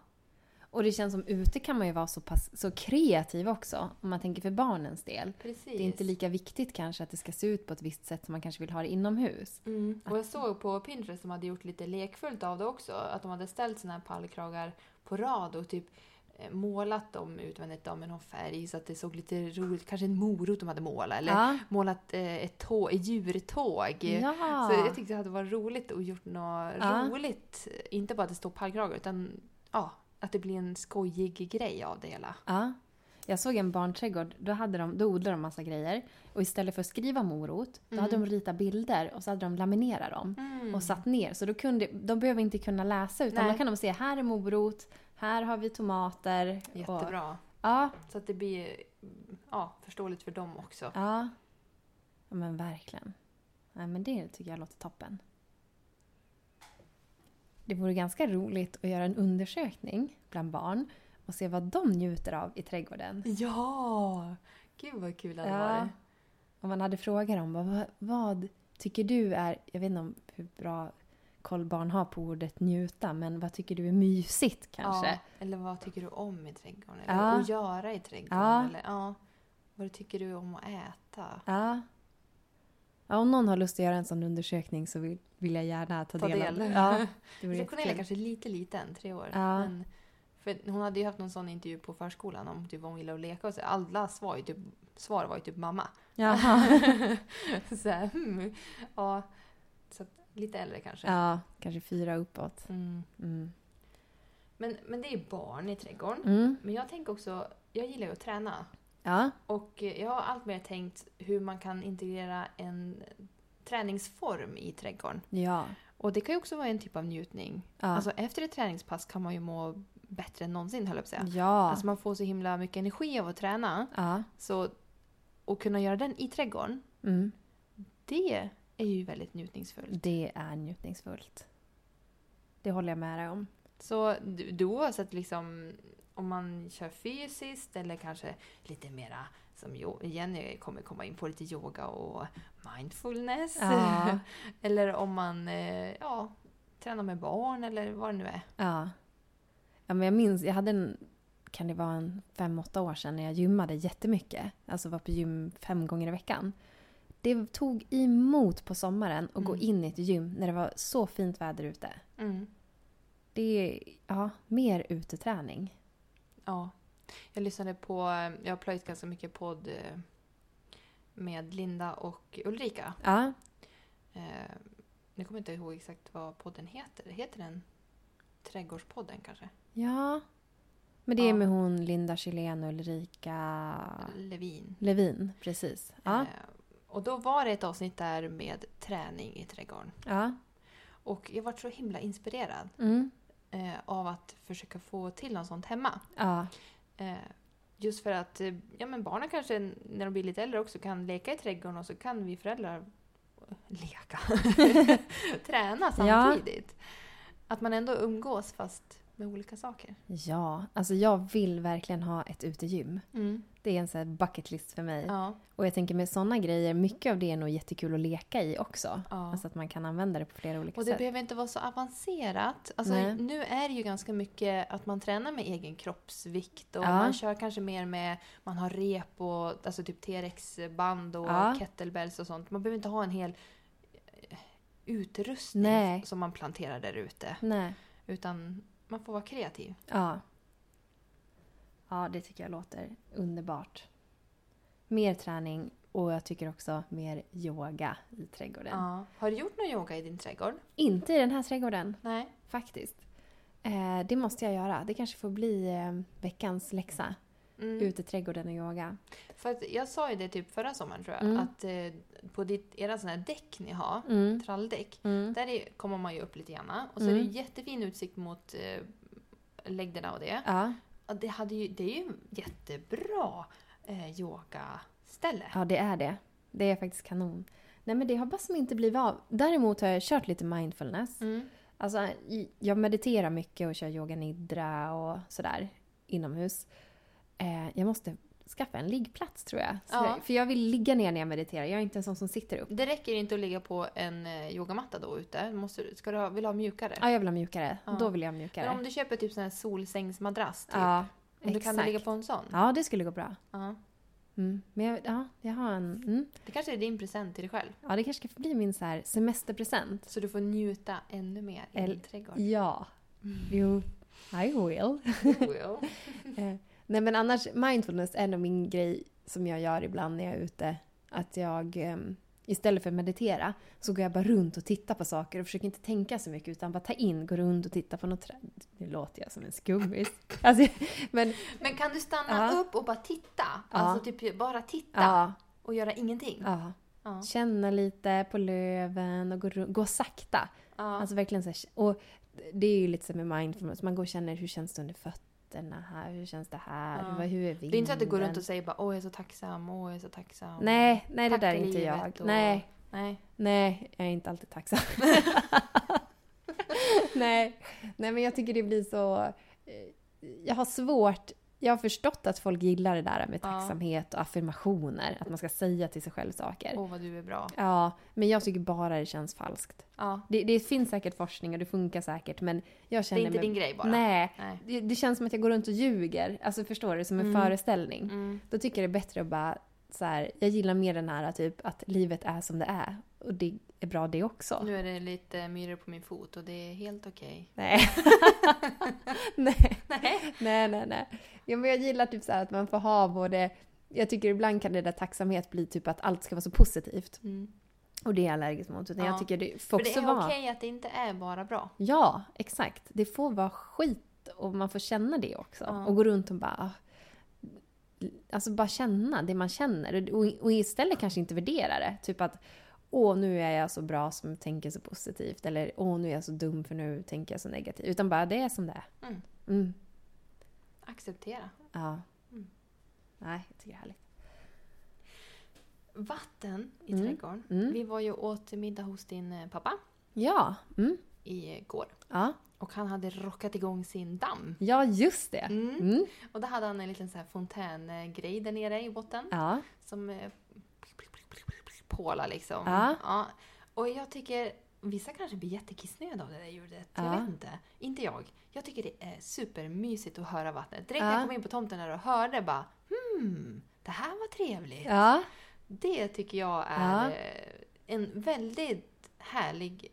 S1: Och det känns som ute kan man ju vara så, pass, så kreativ också. Om man tänker för barnens del.
S2: Precis.
S1: Det är inte lika viktigt kanske att det ska se ut på ett visst sätt som man kanske vill ha det inomhus.
S2: Mm. Och jag såg på Pinterest som hade gjort lite lekfullt av det också. Att de hade ställt såna här pallkragar på rad och typ eh, målat dem utvändigt då med någon färg så att det såg lite roligt Kanske en morot de hade målat eller
S1: Ja.
S2: målat eh, ett, tå, ett djurtåg.
S1: Ja.
S2: Så jag tyckte det hade varit roligt och gjort något
S1: Ja.
S2: roligt. Inte bara att det står pallkragar utan ja, att det blir en skojig grej av det hela.
S1: Ja. Jag såg en barnträdgård, då, hade de, då odlade de massa grejer. Och istället för att skriva morot, då hade
S2: Mm.
S1: de ritat bilder och så hade de laminerat dem. Och satt ner. Så då kunde, de behöver inte kunna läsa utan
S2: Nej.
S1: då kan de se, här är morot, här har vi tomater. Och,
S2: Jättebra.
S1: ja,
S2: Så att det blir ja, förståeligt för dem också.
S1: Ja. ja men verkligen. Nej, men det tycker jag låter toppen. Det vore ganska roligt att göra en undersökning bland barn och se vad de njuter av i trädgården.
S2: Ja! Gud vad kul det hade varit.
S1: Om man hade frågat dem vad, vad- vad tycker du är, jag vet inte om hur bra koll barn har på ordet njuta, men vad tycker du är mysigt kanske?
S2: Ja, eller vad tycker du om i trädgården? Eller
S1: Ja.
S2: att göra i trädgården?
S1: Ja.
S2: Eller, ja. Vad tycker du om att äta?
S1: Ja. ja. Om någon har lust att göra en sån undersökning så vill, vill jag gärna ta,
S2: Ta
S1: del av
S2: del.
S1: det. Ja, det vore
S2: För Cornelia
S1: jättekul.
S2: kanske är lite liten, tre år.
S1: Ja.
S2: Men, för hon hade ju haft någon sån intervju på förskolan om typ vad hon gillar att leka och så. Alla svar, ju typ, svar var ju typ mamma.
S1: Jaha.
S2: så här, hmm. ja. så att, lite äldre kanske.
S1: Ja, kanske fyra uppåt.
S2: Mm.
S1: Mm.
S2: Men, men det är barn i trädgården.
S1: Mm.
S2: Men jag tänker också, jag gillar ju att träna.
S1: Ja.
S2: Och eh, jag har alltmer tänkt hur man kan integrera en träningsform i trädgården.
S1: Ja.
S2: Och det kan ju också vara en typ av njutning.
S1: Ja.
S2: Alltså efter ett träningspass kan man ju må bättre än någonsin höll jag på att säga.
S1: ja.
S2: Alltså man får så himla mycket energi av att träna.
S1: ja.
S2: Så att kunna göra den i trädgården,
S1: Mm.
S2: det är ju väldigt njutningsfullt.
S1: Det är njutningsfullt. Det håller jag med dig om.
S2: Så du, du oavsett liksom om man kör fysiskt eller kanske lite mera som jo- Jenny kommer komma in på, lite yoga och mindfulness.
S1: Ja.
S2: eller om man eh, ja, tränar med barn eller vad det nu är.
S1: Ja. ja men jag minns, jag hade en, kan det vara en fem, åtta år sedan när jag gymmade jättemycket. Alltså var på gym fem gånger i veckan. Det tog emot på sommaren att gå
S2: Mm.
S1: in i ett gym när det var så fint väder ute. Det är, ja, mer uteträning.
S2: Ja. Jag lyssnade på, jag har plöjt ganska mycket podd eh, med Linda och Ulrika.
S1: Ja,
S2: Eh, nu kommer jag inte ihåg exakt vad podden heter. Heter den Trädgårdspodden kanske?
S1: ja. Men det är
S2: Ja.
S1: med hon Linda Kylén och Ulrika
S2: Levin.
S1: Levin, precis. Ja,
S2: Eh, och då var det ett avsnitt där med träning i trädgården.
S1: ja.
S2: Och jag var så himla inspirerad
S1: Mm.
S2: eh, av att försöka få till något sånt hemma.
S1: Ja,
S2: Eh, just för att eh, ja, men barnen kanske när de blir lite äldre också kan leka i trädgården och så kan vi föräldrar leka, träna samtidigt. Att man ändå umgås fast med olika saker.
S1: ja. Alltså jag vill verkligen ha ett utegym. Det är en sån här bucket list för mig.
S2: Ja,
S1: Och jag tänker med såna grejer, mycket av det är nog jättekul att leka i också.
S2: ja.
S1: Alltså att man kan använda det på flera olika
S2: och det
S1: sätt.
S2: behöver inte vara så avancerat. Alltså,
S1: Nej.
S2: nu är det ju ganska mycket att man tränar med egen kroppsvikt och
S1: Ja.
S2: man kör kanske mer med, man har rep och alltså typ T-rex-band och
S1: Ja.
S2: kettlebells och sånt. Man behöver inte ha en hel eh, utrustning
S1: Nej.
S2: som man planterar där ute.
S1: Nej.
S2: Utan man får vara kreativ.
S1: Ja. Ja, det tycker jag låter underbart. Mer träning och jag tycker också mer yoga i trädgården.
S2: Ja. Har du gjort någon yoga i din trädgård?
S1: Inte i den här trädgården,
S2: Nej.
S1: faktiskt. Eh, det måste jag göra. Det kanske får bli eh, veckans läxa.
S2: Mm.
S1: Ut i trädgården och yoga.
S2: För att jag sa ju det typ förra sommaren tror jag,
S1: Mm.
S2: att eh, på ditt, era sådana här däck ni har,
S1: Mm.
S2: tralldäck,
S1: Mm.
S2: Där är, kommer man ju upp lite grann. Och så är det
S1: Mm.
S2: ju jättefin utsikt mot eh, lägderna och det.
S1: Ja.
S2: Ja, Det, hade ju, det är ju jättebra eh, yogaställe.
S1: ja, det är det. Det är faktiskt kanon. Nej, men det har bara som inte blivit av. Däremot har jag kört lite mindfulness.
S2: Mm.
S1: Alltså, i- jag mediterar mycket och kör yoga nidra och sådär inomhus. Eh, jag måste skaffa en liggplats tror jag. Så
S2: Ja.
S1: jag. För jag vill ligga ner när jag mediterar. Jag är inte en sån som sitter upp.
S2: Det räcker inte att ligga på en eh, yogamatta då ute. Måste, du- ska du ha, vill du ha mjukare?
S1: Ja, jag vill ha mjukare.
S2: Ja.
S1: Då vill jag ha
S2: Men
S1: mjukare.
S2: om du köper typ sån här solsängsmadrass, typ,
S1: ja,
S2: om du kan du
S1: exakt.
S2: ligga på en sån?
S1: Ja, det skulle gå bra.
S2: Ja.
S1: Mm. Men jag, ja, jag har en... Mm.
S2: Det kanske är din present till dig själv.
S1: Ja, det kanske ska bli min så här semesterpresent.
S2: Så du får njuta ännu mer i
S1: Eller-
S2: din trädgård.
S1: Ja. Mm. Jo, I will.
S2: Jo, jo.
S1: Nej men annars, mindfulness är nog min grej som jag gör ibland när jag är ute. Att jag ehm, istället för att meditera så går jag bara runt och tittar på saker och försöker inte tänka så mycket utan bara ta in, gå runt och titta på något träd. Nu låter jag som en skummis. Alltså, men
S2: Men kan du stanna
S1: Ja.
S2: upp och bara titta?
S1: Ja.
S2: Alltså typ bara titta
S1: ja,
S2: och göra ingenting.
S1: ja.
S2: Ja.
S1: Känna lite på löven och gå, runt- gå sakta.
S2: Ja.
S1: Alltså verkligen så här, och det är ju lite som med mindfulness, man går och känner hur känns det under fötterna här, hur känns det här,
S2: Ja.
S1: hur, hur är vinden?
S2: Det är inte så att du går runt och säger bara åh jag är så tacksam, åh jag är så tacksam.
S1: Nej, nej det
S2: Tack
S1: där är
S2: för
S1: inte
S2: livet
S1: jag.
S2: och-
S1: Nej,
S2: Nej.
S1: Nej, jag är inte alltid tacksam. Nej. Nej, men jag tycker det blir så... eh, Jag har svårt... Jag har förstått att folk gillar det där med
S2: Ja.
S1: tacksamhet och affirmationer. Att man ska säga till sig själv saker.
S2: Åh vad du är bra.
S1: Ja, men jag tycker bara det känns falskt.
S2: Ja.
S1: Det, det finns säkert forskning och det funkar säkert, men jag
S2: Det är
S1: känner
S2: inte
S1: mig...
S2: din grej bara.
S1: Nej.
S2: Nej.
S1: Det, det känns som att jag går runt och ljuger. Alltså förstår du? Som en
S2: Mm.
S1: föreställning.
S2: Mm.
S1: Då tycker jag det är bättre att bara så här, jag gillar mer den här typ att livet är som det är och det är bra det också.
S2: Nu är det lite myror på min fot och det är helt okej.
S1: Nej. nej. nej, nej, nej. Ja, men jag gillar typ så här att man får ha både, jag tycker ibland kan det där tacksamhet bli typ att allt ska vara så positivt
S2: Mm.
S1: och det är jag allergisk mot. Utan
S2: Ja.
S1: jag tycker det får
S2: För det
S1: också
S2: är
S1: vara...
S2: okej att det inte är bara bra.
S1: Ja, exakt. Det får vara skit och man får känna det också.
S2: Ja.
S1: Och gå runt och bara... ah, Alltså bara känna det man känner. Och, och istället kanske inte värdera det. Typ att åh, nu är jag så bra som tänker så positivt. Eller åh, nu är jag så dum för nu tänker jag så negativt. Utan bara det är som det är.
S2: Mm.
S1: Mm.
S2: Acceptera.
S1: Ja.
S2: Mm.
S1: Nej, jag tycker det är härligt.
S2: Vatten i
S1: Mm.
S2: trädgården.
S1: Mm.
S2: Vi var ju åt middag hos din eh, pappa
S1: Ja. Mm.
S2: igår.
S1: Ja.
S2: Och han hade rockat igång sin damm.
S1: ja, just det.
S2: Mm.
S1: Mm.
S2: Och då hade han en liten så här fontängrej där nere i botten.
S1: Ja.
S2: som eh, pålar liksom.
S1: Ja.
S2: Och jag tycker, vissa kanske blir jättekissnödiga av det där ljudet.
S1: Ja.
S2: Jag vet inte. Inte jag. Jag tycker det är supermysigt att höra vattnet. Direkt när
S1: Ja.
S2: jag kom in på tomten här och hörde bara hmm, det här var trevligt.
S1: Ja.
S2: Det tycker jag
S1: Ja.
S2: är eh, en väldigt härlig,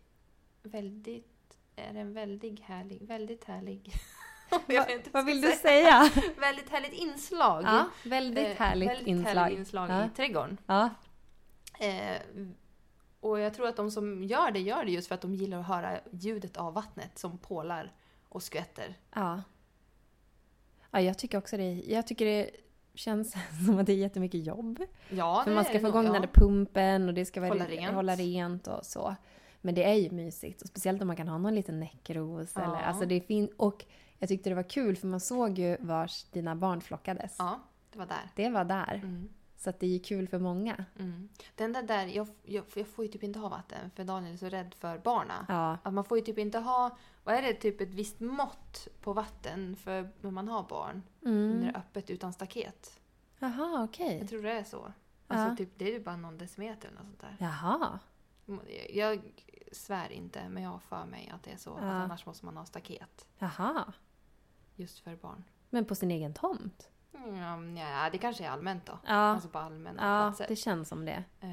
S2: väldigt är en väldigt härlig, väldigt härlig... jag vet inte
S1: Vad vill
S2: ska
S1: du säga?
S2: Väldigt härligt inslag.
S1: Ja, väldigt
S2: Eh,
S1: härligt
S2: väldigt
S1: inslag.
S2: härligt inslag
S1: Ja.
S2: i trädgården.
S1: Ja,
S2: Eh, och jag tror att de som gör det gör det just för att de gillar att höra ljudet av vattnet som pålar och skvätter.
S1: Ja. Ja, jag tycker också det. Jag tycker det känns som att det är jättemycket jobb.
S2: Ja,
S1: för
S2: det
S1: man
S2: är
S1: ska få
S2: nog-
S1: igång
S2: ja.
S1: den där pumpen och det ska vara
S2: Hålla rent.
S1: hålla rent och så. Men det är ju mysigt. Och speciellt om man kan ha någon liten näckros.
S2: Ja.
S1: Eller, alltså det är fin- och jag tyckte det var kul för man såg ju vars dina barn flockades.
S2: Ja, det var där.
S1: Det var där.
S2: Mm.
S1: Så att det är ju kul för många.
S2: Mm. Den där, där jag, jag, jag får ju typ inte ha vatten för Daniel är så rädd för barna.
S1: Ja.
S2: Att man får ju typ inte ha, vad är det, typ ett visst mått på vatten för när man har barn. När
S1: Mm.
S2: det är öppet utan staket.
S1: Jaha, okej.
S2: Jag tror det är så. Alltså
S1: Ja.
S2: typ, det är ju bara någon decimeter eller något sånt där.
S1: Jaha.
S2: Jag svär inte, men jag har för mig att det är så. Att
S1: Ja.
S2: annars måste man ha staket.
S1: Jaha.
S2: Just för barn.
S1: Men på sin egen tomt?
S2: Mm, ja, det kanske är allmänt då.
S1: Ja,
S2: Alltså på allmänna
S1: ja
S2: platser.
S1: det känns som det.
S2: Eh,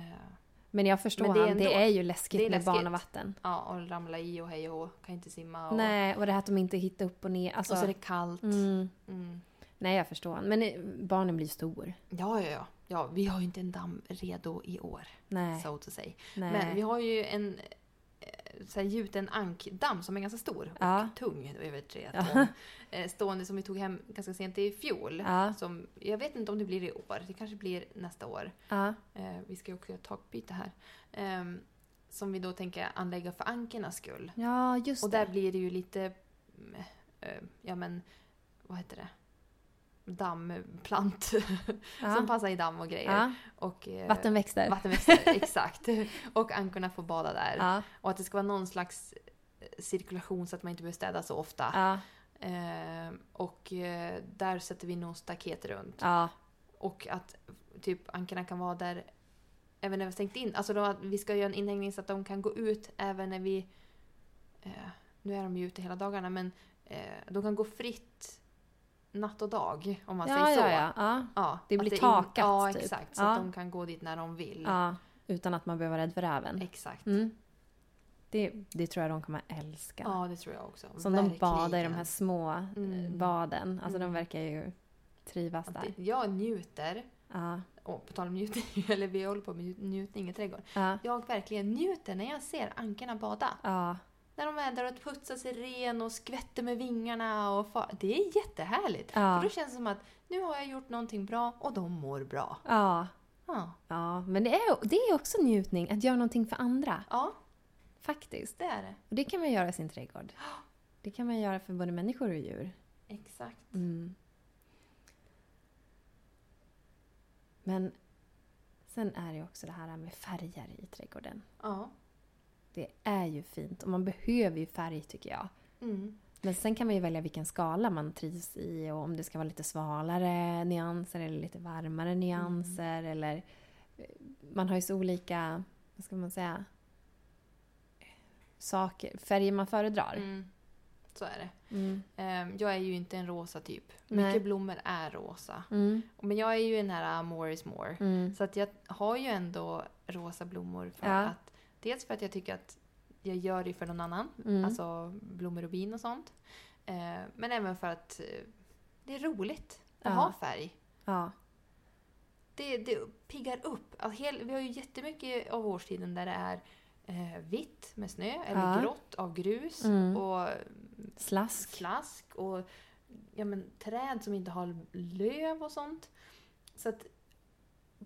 S1: Men jag förstår
S2: Men
S1: men
S2: det är
S1: det han, det
S2: ändå-
S1: är ju läskigt
S2: det är
S1: med barn och
S2: läskigt.
S1: vatten.
S2: Ja, och ramla i och hej och hå. Kan inte simma. Och,
S1: Nej, och det här att de inte hittar upp och ner. Alltså,
S2: och så är det kallt.
S1: mm,
S2: Mm.
S1: nej, jag förstår. Men eh, barnen blir stor.
S2: Ja, ja, ja, ja. Vi har ju inte en damm redo i år.
S1: Nej,
S2: So to say.
S1: nej.
S2: Men vi har ju en eh, så här, gjuten ankdamm som är ganska stor och
S1: Ja.
S2: tung, över tre
S1: Ja.
S2: ton, eh, stående som vi tog hem ganska sent i fjol.
S1: Ja.
S2: Som, Alltså, jag vet inte om det blir i år, det kanske blir nästa år.
S1: ja,
S2: Eh, vi ska ju också göra takbyte här. Ehm, som vi då tänker anlägga för ankernas skull.
S1: ja, just
S2: Och
S1: det.
S2: där blir det ju lite, mm, eh, ja men, vad heter det? Dammplant som
S1: Ja.
S2: passar i damm och grejer.
S1: Ja.
S2: Och, eh,
S1: Vattenväxter.
S2: vattenväxter, exakt. Och ankorna får bada där.
S1: Ja,
S2: Och att det ska vara någon slags eh, cirkulation så att man inte behöver städa så ofta.
S1: ja,
S2: Eh, och eh, där sätter vi nog staket runt.
S1: ja,
S2: Och att typ ankorna kan vara där även när vi har stängt in. Alltså då, att vi ska göra en inhägning så att de kan gå ut även när vi... Eh, nu är de ju ute hela dagarna men eh, de kan gå fritt natt och dag om man
S1: ja,
S2: säger så.
S1: ja, ja, ja,
S2: Ja,
S1: Det
S2: att
S1: blir
S2: in-
S1: takat,
S2: Ja,
S1: typ.
S2: exakt. Så
S1: Ja.
S2: att de kan gå dit när de vill.
S1: ja. Utan att man behöver vara rädd för räven.
S2: Mm. Exakt.
S1: Mm. Det, det tror jag de kommer älska.
S2: Ja, det tror jag också.
S1: Som de badar i de här små eh,
S2: Mm.
S1: baden. Alltså
S2: Mm.
S1: de verkar ju trivas
S2: Att det-
S1: där.
S2: Jag njuter,
S1: Ja,
S2: och på tal om njutning, eller vi håller på med njut- njutning i trädgården.
S1: ja,
S2: Jag verkligen njuter när jag ser ankarna bada.
S1: ja.
S2: När de är där och putsar sig ren och skvätter med vingarna och far. Det är jättehärligt.
S1: Ja.
S2: För då känns det som att nu har jag gjort någonting bra och de mår bra.
S1: ja.
S2: Ja,
S1: Ja, men det är, det är också njutning att göra någonting för andra.
S2: ja
S1: Faktiskt.
S2: det är det.
S1: Och det kan man göra i sin trädgård. Det kan man göra för både människor och djur.
S2: Exakt.
S1: Mm. Men sen är det ju också det här med färger i trädgården.
S2: Ja.
S1: Det är ju fint och man behöver ju färg tycker jag.
S2: Mm.
S1: Men sen kan man ju välja vilken skala man trivs i och om det ska vara lite svalare nyanser eller lite varmare nyanser eller eh, man har ju så olika, vad ska man säga, saker, färger man föredrar.
S2: Mm. Så är det.
S1: Mm.
S2: Ehm, Jag är ju inte en rosa typ.
S1: Nej.
S2: Mycket blommor är rosa.
S1: Mm.
S2: Men jag är ju den här uh, more is more.
S1: Mm.
S2: Så att jag har ju ändå rosa blommor för
S1: Ja.
S2: att dels för att jag tycker att jag gör det för någon annan,
S1: Mm.
S2: alltså blommor och bin och sånt. Eh, men även för att eh, det är roligt
S1: Ja.
S2: att ha färg.
S1: Ja.
S2: Det, det piggar upp. Alltså, hel, vi har ju jättemycket av årstiden där det är eh, vitt med snö eller
S1: Ja.
S2: grått av grus
S1: Mm.
S2: och
S1: Slask.
S2: slask och ja, men, träd som inte har löv och sånt. Så att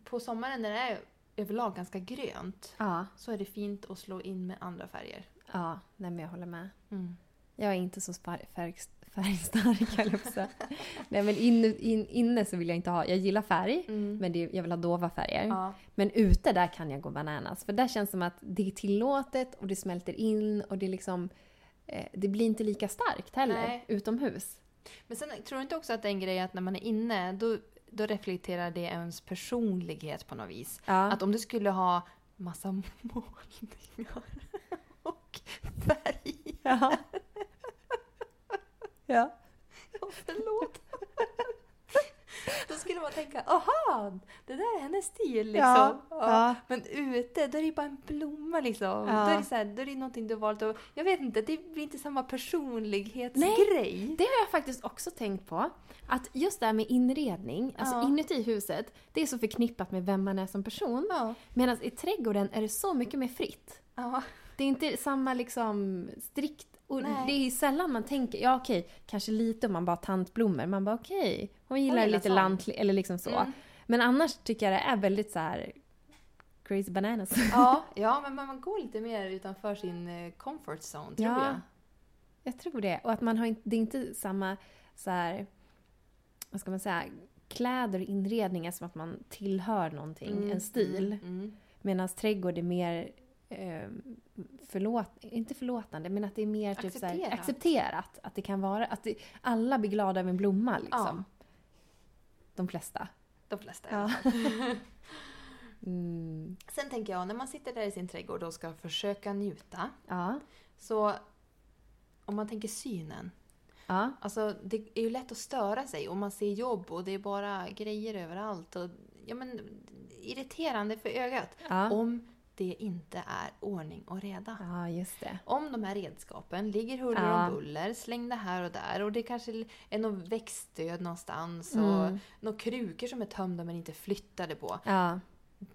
S2: på sommaren när det är överlag ganska grönt
S1: Ja.
S2: så är det fint att slå in med andra färger.
S1: Ja, nej men jag håller med. Jag är inte så spar- färg, färgstark höll jag på att säga. Nej men inne, in, inne så vill jag inte ha, jag gillar färg.
S2: Mm.
S1: Men det, jag vill ha dova färger.
S2: Ja.
S1: Men ute där kan jag gå bananas. För där känns det som att det är tillåtet och det smälter in och det liksom... Eh, det blir inte lika starkt heller
S2: Nej.
S1: utomhus.
S2: Men sen tror du inte också att det är en grej att när man är inne då, då reflekterar det ens personlighet på något vis?
S1: Ja.
S2: Att om du skulle ha massa målningar och färg.
S1: ja. ja.
S2: Ja, förlåt. Då skulle skulle man tänka, aha, det där är hennes stil
S1: Ja,
S2: liksom. Ja,
S1: ja.
S2: Men ute, då är det ju bara en blomma liksom.
S1: Ja.
S2: Då, är det så här, då är det någonting du har valt och, jag vet inte, det blir inte samma personlighetsgrej.
S1: Det har jag faktiskt också tänkt på. Att just det här med inredning, alltså
S2: Ja.
S1: inuti huset, det är så förknippat med vem man är som person.
S2: Ja.
S1: Medan i trädgården är det så mycket mer fritt.
S2: Ja.
S1: Det är inte samma liksom strikt... Och
S2: Nej.
S1: det är sällan man tänker, ja okej, kanske lite om man bara har tantblommor. Man bara okej, hon gillar,
S2: gillar
S1: lite
S2: sånt.
S1: lantlig, eller liksom så.
S2: Mm.
S1: Men annars tycker jag det är väldigt så här crazy bananas.
S2: Ja, ja, men man man går lite mer utanför sin eh, comfort zone tror
S1: Ja.
S2: jag.
S1: Jag tror det. Och att man har inte, det är inte samma så här, vad ska man säga, kläder och inredningar som att man tillhör någonting, en stil.
S2: Mm.
S1: Medan trädgård är mer eh, förlåt, inte förlåtande, men att det är mer typ så här,
S2: Accepterat.
S1: accepterat. Att det kan vara, att det, alla blir glada över en blomma liksom. De flesta.
S2: De flesta.
S1: Ja. Mm,
S2: Sen tänker jag, när man sitter där i sin trädgård och ska försöka njuta.
S1: ja.
S2: Så om man tänker synen.
S1: ja.
S2: Alltså det är ju lätt att störa sig och man ser jobb och det är bara grejer överallt. Och, ja, men, irriterande för ögat.
S1: Ja.
S2: Om det inte är ordning och reda.
S1: ja, just det.
S2: Om de här redskapen ligger huller
S1: Ja.
S2: om buller, slängda här och där och det kanske är någon växtdöd någonstans och
S1: Mm.
S2: några krukor som är tömda men inte flyttade på.
S1: Ja.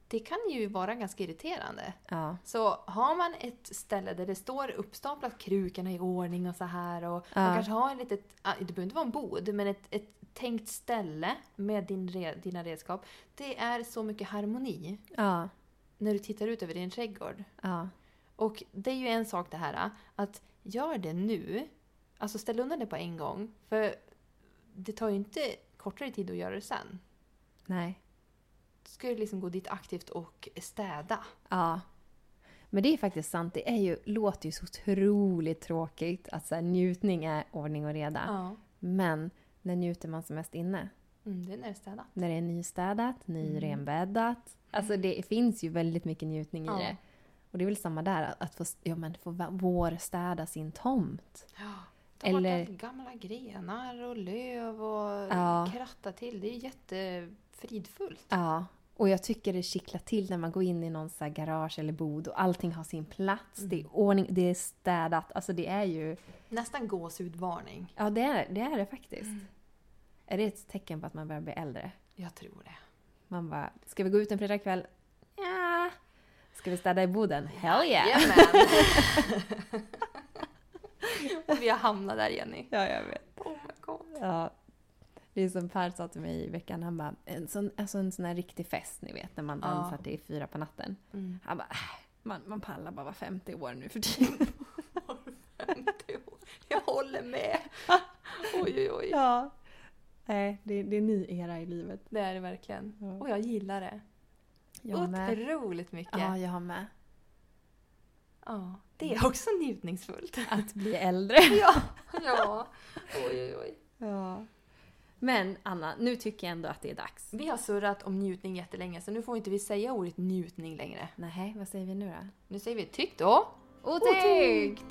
S2: Det kan ju vara ganska irriterande.
S1: Ja.
S2: Så har man ett ställe där det står uppstaplat krukorna i ordning och så här och
S1: Ja.
S2: man kanske har ett litet, ah, det behöver inte vara en bod, men ett, ett tänkt ställe med din, re- dina redskap. Det är så mycket harmoni
S1: Ja.
S2: när du tittar ut över din trädgård.
S1: Ja.
S2: Och det är ju en sak det här, att gör det nu. Alltså ställ undan det på en gång. För det tar ju inte kortare tid att göra det sen.
S1: Nej.
S2: Du ska ju liksom gå dit aktivt och städa.
S1: Ja. Men det är faktiskt sant. Det är ju, låter ju så otroligt tråkigt att så här, njutning är ordning och reda.
S2: Ja.
S1: Men när njuter man som mest inne?
S2: Mm, det är när det är städa.
S1: När det är nystädat, nyrenbäddat. Alltså det finns ju väldigt mycket njutning
S2: Mm. Ja.
S1: i det. Och det är väl samma där, att- att få, ja, men få va- vårstäda sin tomt.
S2: Ta bort
S1: Eller-
S2: alla gamla grenar och löv och
S1: Ja.
S2: kratta till. Det är ju jättefridfullt.
S1: Ja. Och jag tycker det kittlar till när man går in i någon så här garage eller bod och allting har sin plats.
S2: Mm.
S1: Det är ordning, det är städat. Alltså det är ju...
S2: Nästan gåshudvarning.
S1: Ja, det är det, är det faktiskt. Är det ett tecken på att man börjar bli äldre?
S2: Jag tror det.
S1: Man bara, ska vi gå ut en fredagkväll? Ja. Ska vi städa i boden? Hell yeah!
S2: Och Vi har hamnat där Jenny.
S1: Ja, jag vet.
S2: Oh my god.
S1: Ja. Det är som Per sa till mig i veckan, han bara, en sån, alltså en sån här riktig fest ni vet, när man
S2: Ja.
S1: dansar till fyra på natten.
S2: Mm.
S1: Han bara, "Äh, man, man pallar bara vara 50 år nu för tiden.
S2: 50 år. Jag håller med. Oj oj oj.
S1: Ja. Nej, det, det är en ny era i livet.
S2: Det är det verkligen.
S1: Ja.
S2: Och jag gillar det.
S1: Jag med.
S2: Otroligt mycket.
S1: Ja,
S2: Ja.
S1: jag har med.
S2: Det är också njutningsfullt.
S1: Att bli äldre.
S2: ja. ja. Oj oj oj.
S1: Ja. Men Anna, nu tycker jag ändå att det är dags.
S2: Vi har surrat om njutning jättelänge så nu får inte vi säga ordet njutning längre.
S1: Nej, vad säger vi nu då?
S2: Nu säger vi tyck då.
S1: Otäckt!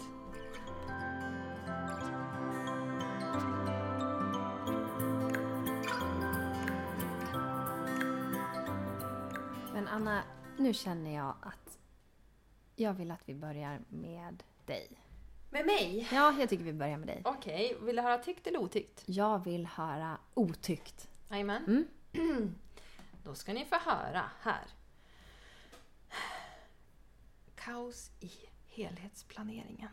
S1: Men Anna, nu känner jag att jag vill att vi börjar med dig.
S2: Med mig?
S1: Ja, jag tycker vi börjar med dig.
S2: Okej, vill du höra tyckt eller otyckt?
S1: Jag vill höra otyckt.
S2: Jajamän.
S1: Mm.
S2: Då ska ni få höra här. Kaos i helhetsplaneringen.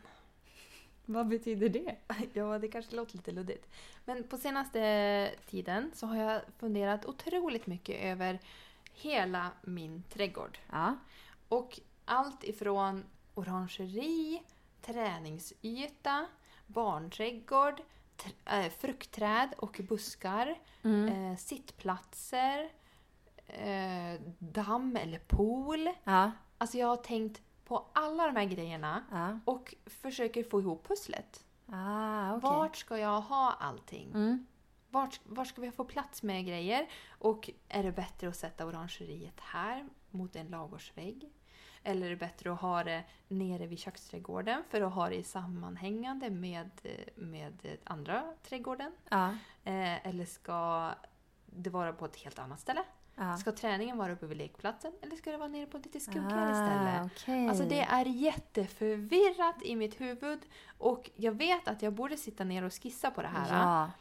S1: Vad betyder det?
S2: Ja, det kanske låter lite luddigt. Men på senaste tiden så har jag funderat otroligt mycket över hela min trädgård.
S1: Ja.
S2: Och allt ifrån orangeri, träningsyta, barnträdgård, tr- eh, fruktträd och buskar,
S1: Mm.
S2: eh, sittplatser, eh, damm eller pool.
S1: Ja.
S2: Alltså jag har tänkt på alla de här grejerna
S1: Ja.
S2: och försöker få ihop pusslet.
S1: Ah, okej.
S2: Vart ska jag ha allting?
S1: Mm.
S2: Vart, vart ska vi få plats med grejer? Och är det bättre att sätta orangeriet här mot en ladugårdsvägg? Eller är det bättre att ha det nere vid köksträdgården för att ha det i sammanhängande med, med andra trädgården?
S1: Ja.
S2: Eh, eller ska det vara på ett helt annat ställe?
S1: Ja.
S2: Ska träningen vara uppe vid lekplatsen eller ska det vara nere på lite skuggigare ställe?
S1: Ah, okej.
S2: Alltså det är jätteförvirrat i mitt huvud och jag vet att jag borde sitta ner och skissa på det här.
S1: Ja.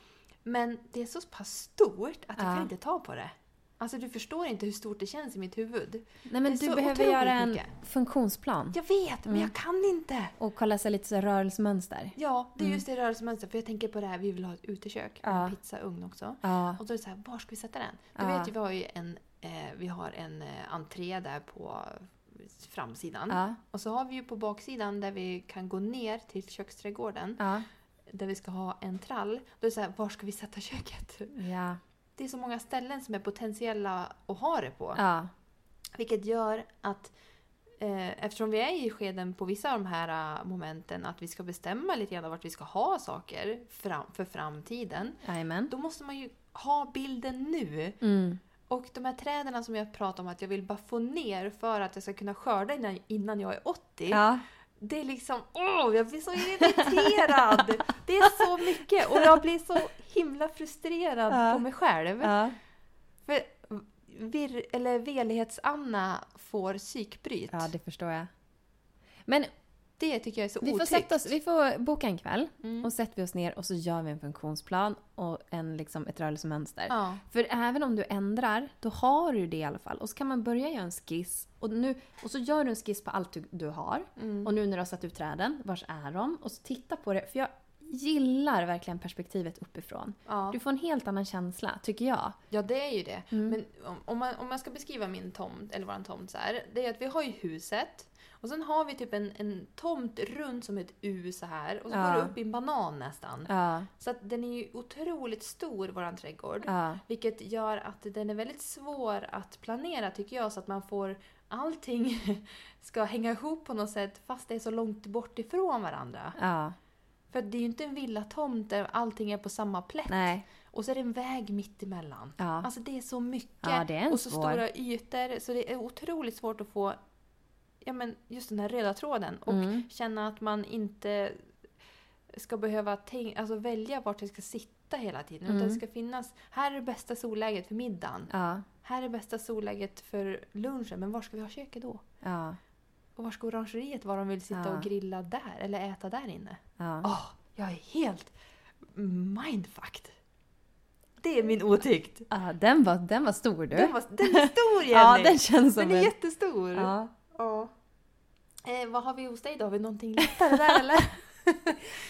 S2: Men det är så pass stort att jag
S1: Ja.
S2: kan inte ta på det. Alltså du förstår inte hur stort det känns i mitt huvud.
S1: Nej men
S2: Det är
S1: du
S2: så
S1: behöver
S2: otroligt
S1: göra en Mm.
S2: mycket.
S1: funktionsplan.
S2: Jag vet, men jag kan inte!
S1: Och kolla sig lite så här rörelsemönster.
S2: Ja, det är just det rörelsemönstret. För jag tänker på det här, vi vill ha ett utekök med
S1: Mm. Ja.
S2: en pizzaugn också.
S1: Ja.
S2: Och då är det så här, var ska vi sätta den? Du
S1: Ja.
S2: vet ju, vi har ju en, eh, vi har en eh, entré där på framsidan.
S1: Ja.
S2: Och så har vi ju på baksidan där vi kan gå ner till köksträdgården.
S1: Ja.
S2: Där vi ska ha en trall. Då är det så här, var ska vi sätta köket?
S1: Ja.
S2: Det är så många ställen som är potentiella att ha det på.
S1: ja.
S2: Vilket gör att eh, eftersom vi är i skeden på vissa av de här eh, momenten att vi ska bestämma lite grann vart vi ska ha saker fram, för framtiden.
S1: Jajamän.
S2: Då måste man ju ha bilden nu.
S1: Mm.
S2: Och de här träden som jag pratar om att jag vill bara få ner för att jag ska kunna skörda innan, innan jag är 80.
S1: Ja.
S2: Det är liksom, åh, jag blir så irriterad! Det är så mycket och jag blir så himla frustrerad
S1: Ja.
S2: på mig själv.
S1: Ja.
S2: För vir, eller velighets-Anna får psykbryt.
S1: ja, det förstår jag. Men
S2: Det tycker jag är så
S1: vi får,
S2: otryggt.
S1: sätta oss, vi får boka en kväll
S2: Mm.
S1: och sätter vi oss ner och så gör vi en funktionsplan och en, liksom, ett rörelsemönster.
S2: Ja.
S1: För även om du ändrar, då har du det i alla fall. Och så kan man börja göra en skiss. Och, nu, och så gör du en skiss på allt du, du har.
S2: Mm.
S1: Och nu när du har satt ut träden, vars är de? Och så titta på det. För jag gillar verkligen perspektivet uppifrån.
S2: Ja.
S1: Du får en helt annan känsla, tycker jag.
S2: ja, det är ju det.
S1: Mm.
S2: Men om- om man, om man ska beskriva min tomt, eller våran tomt så här. Det är att vi har ju huset. Och sen har vi typ en, en tomt runt som ett U så här. Och så
S1: Ja.
S2: går det upp i en banan nästan.
S1: Ja,
S2: Så att den är ju otroligt stor, våran trädgård.
S1: ja,
S2: Vilket gör att den är väldigt svår att planera tycker jag så att man får allting ska hänga ihop på något sätt fast det är så långt bort ifrån varandra.
S1: ja.
S2: För det är ju inte en villatomt där allting är på samma plätt.
S1: Nej.
S2: Och så är det en väg mitt emellan.
S1: Ja.
S2: Alltså det är så mycket
S1: Ja, det är en
S2: och så
S1: svår.
S2: stora ytor så det är otroligt svårt att få ja, men just den här röda tråden och
S1: Mm.
S2: känna att man inte ska behöva tänk- alltså välja vart jag ska sitta hela tiden.
S1: Mm.
S2: Utan det ska finnas, här är det bästa solläget för middagen.
S1: Ja,
S2: Här är bästa solläget för lunchen, men var ska vi ha köket då?
S1: ja,
S2: Och var ska orangeriet vara om vi vill sitta
S1: Ja.
S2: och grilla där eller äta där inne?
S1: ja.
S2: Åh, jag är helt mindfucked. Det är min otykt.
S1: ja den, var, den var stor du.
S2: Den, var, den är stor Jenny!
S1: ja, den känns som
S2: den är
S1: en...
S2: jättestor!
S1: Ja.
S2: Ja. Eh, vad har vi hos dig då? Har vi någonting lättare där eller?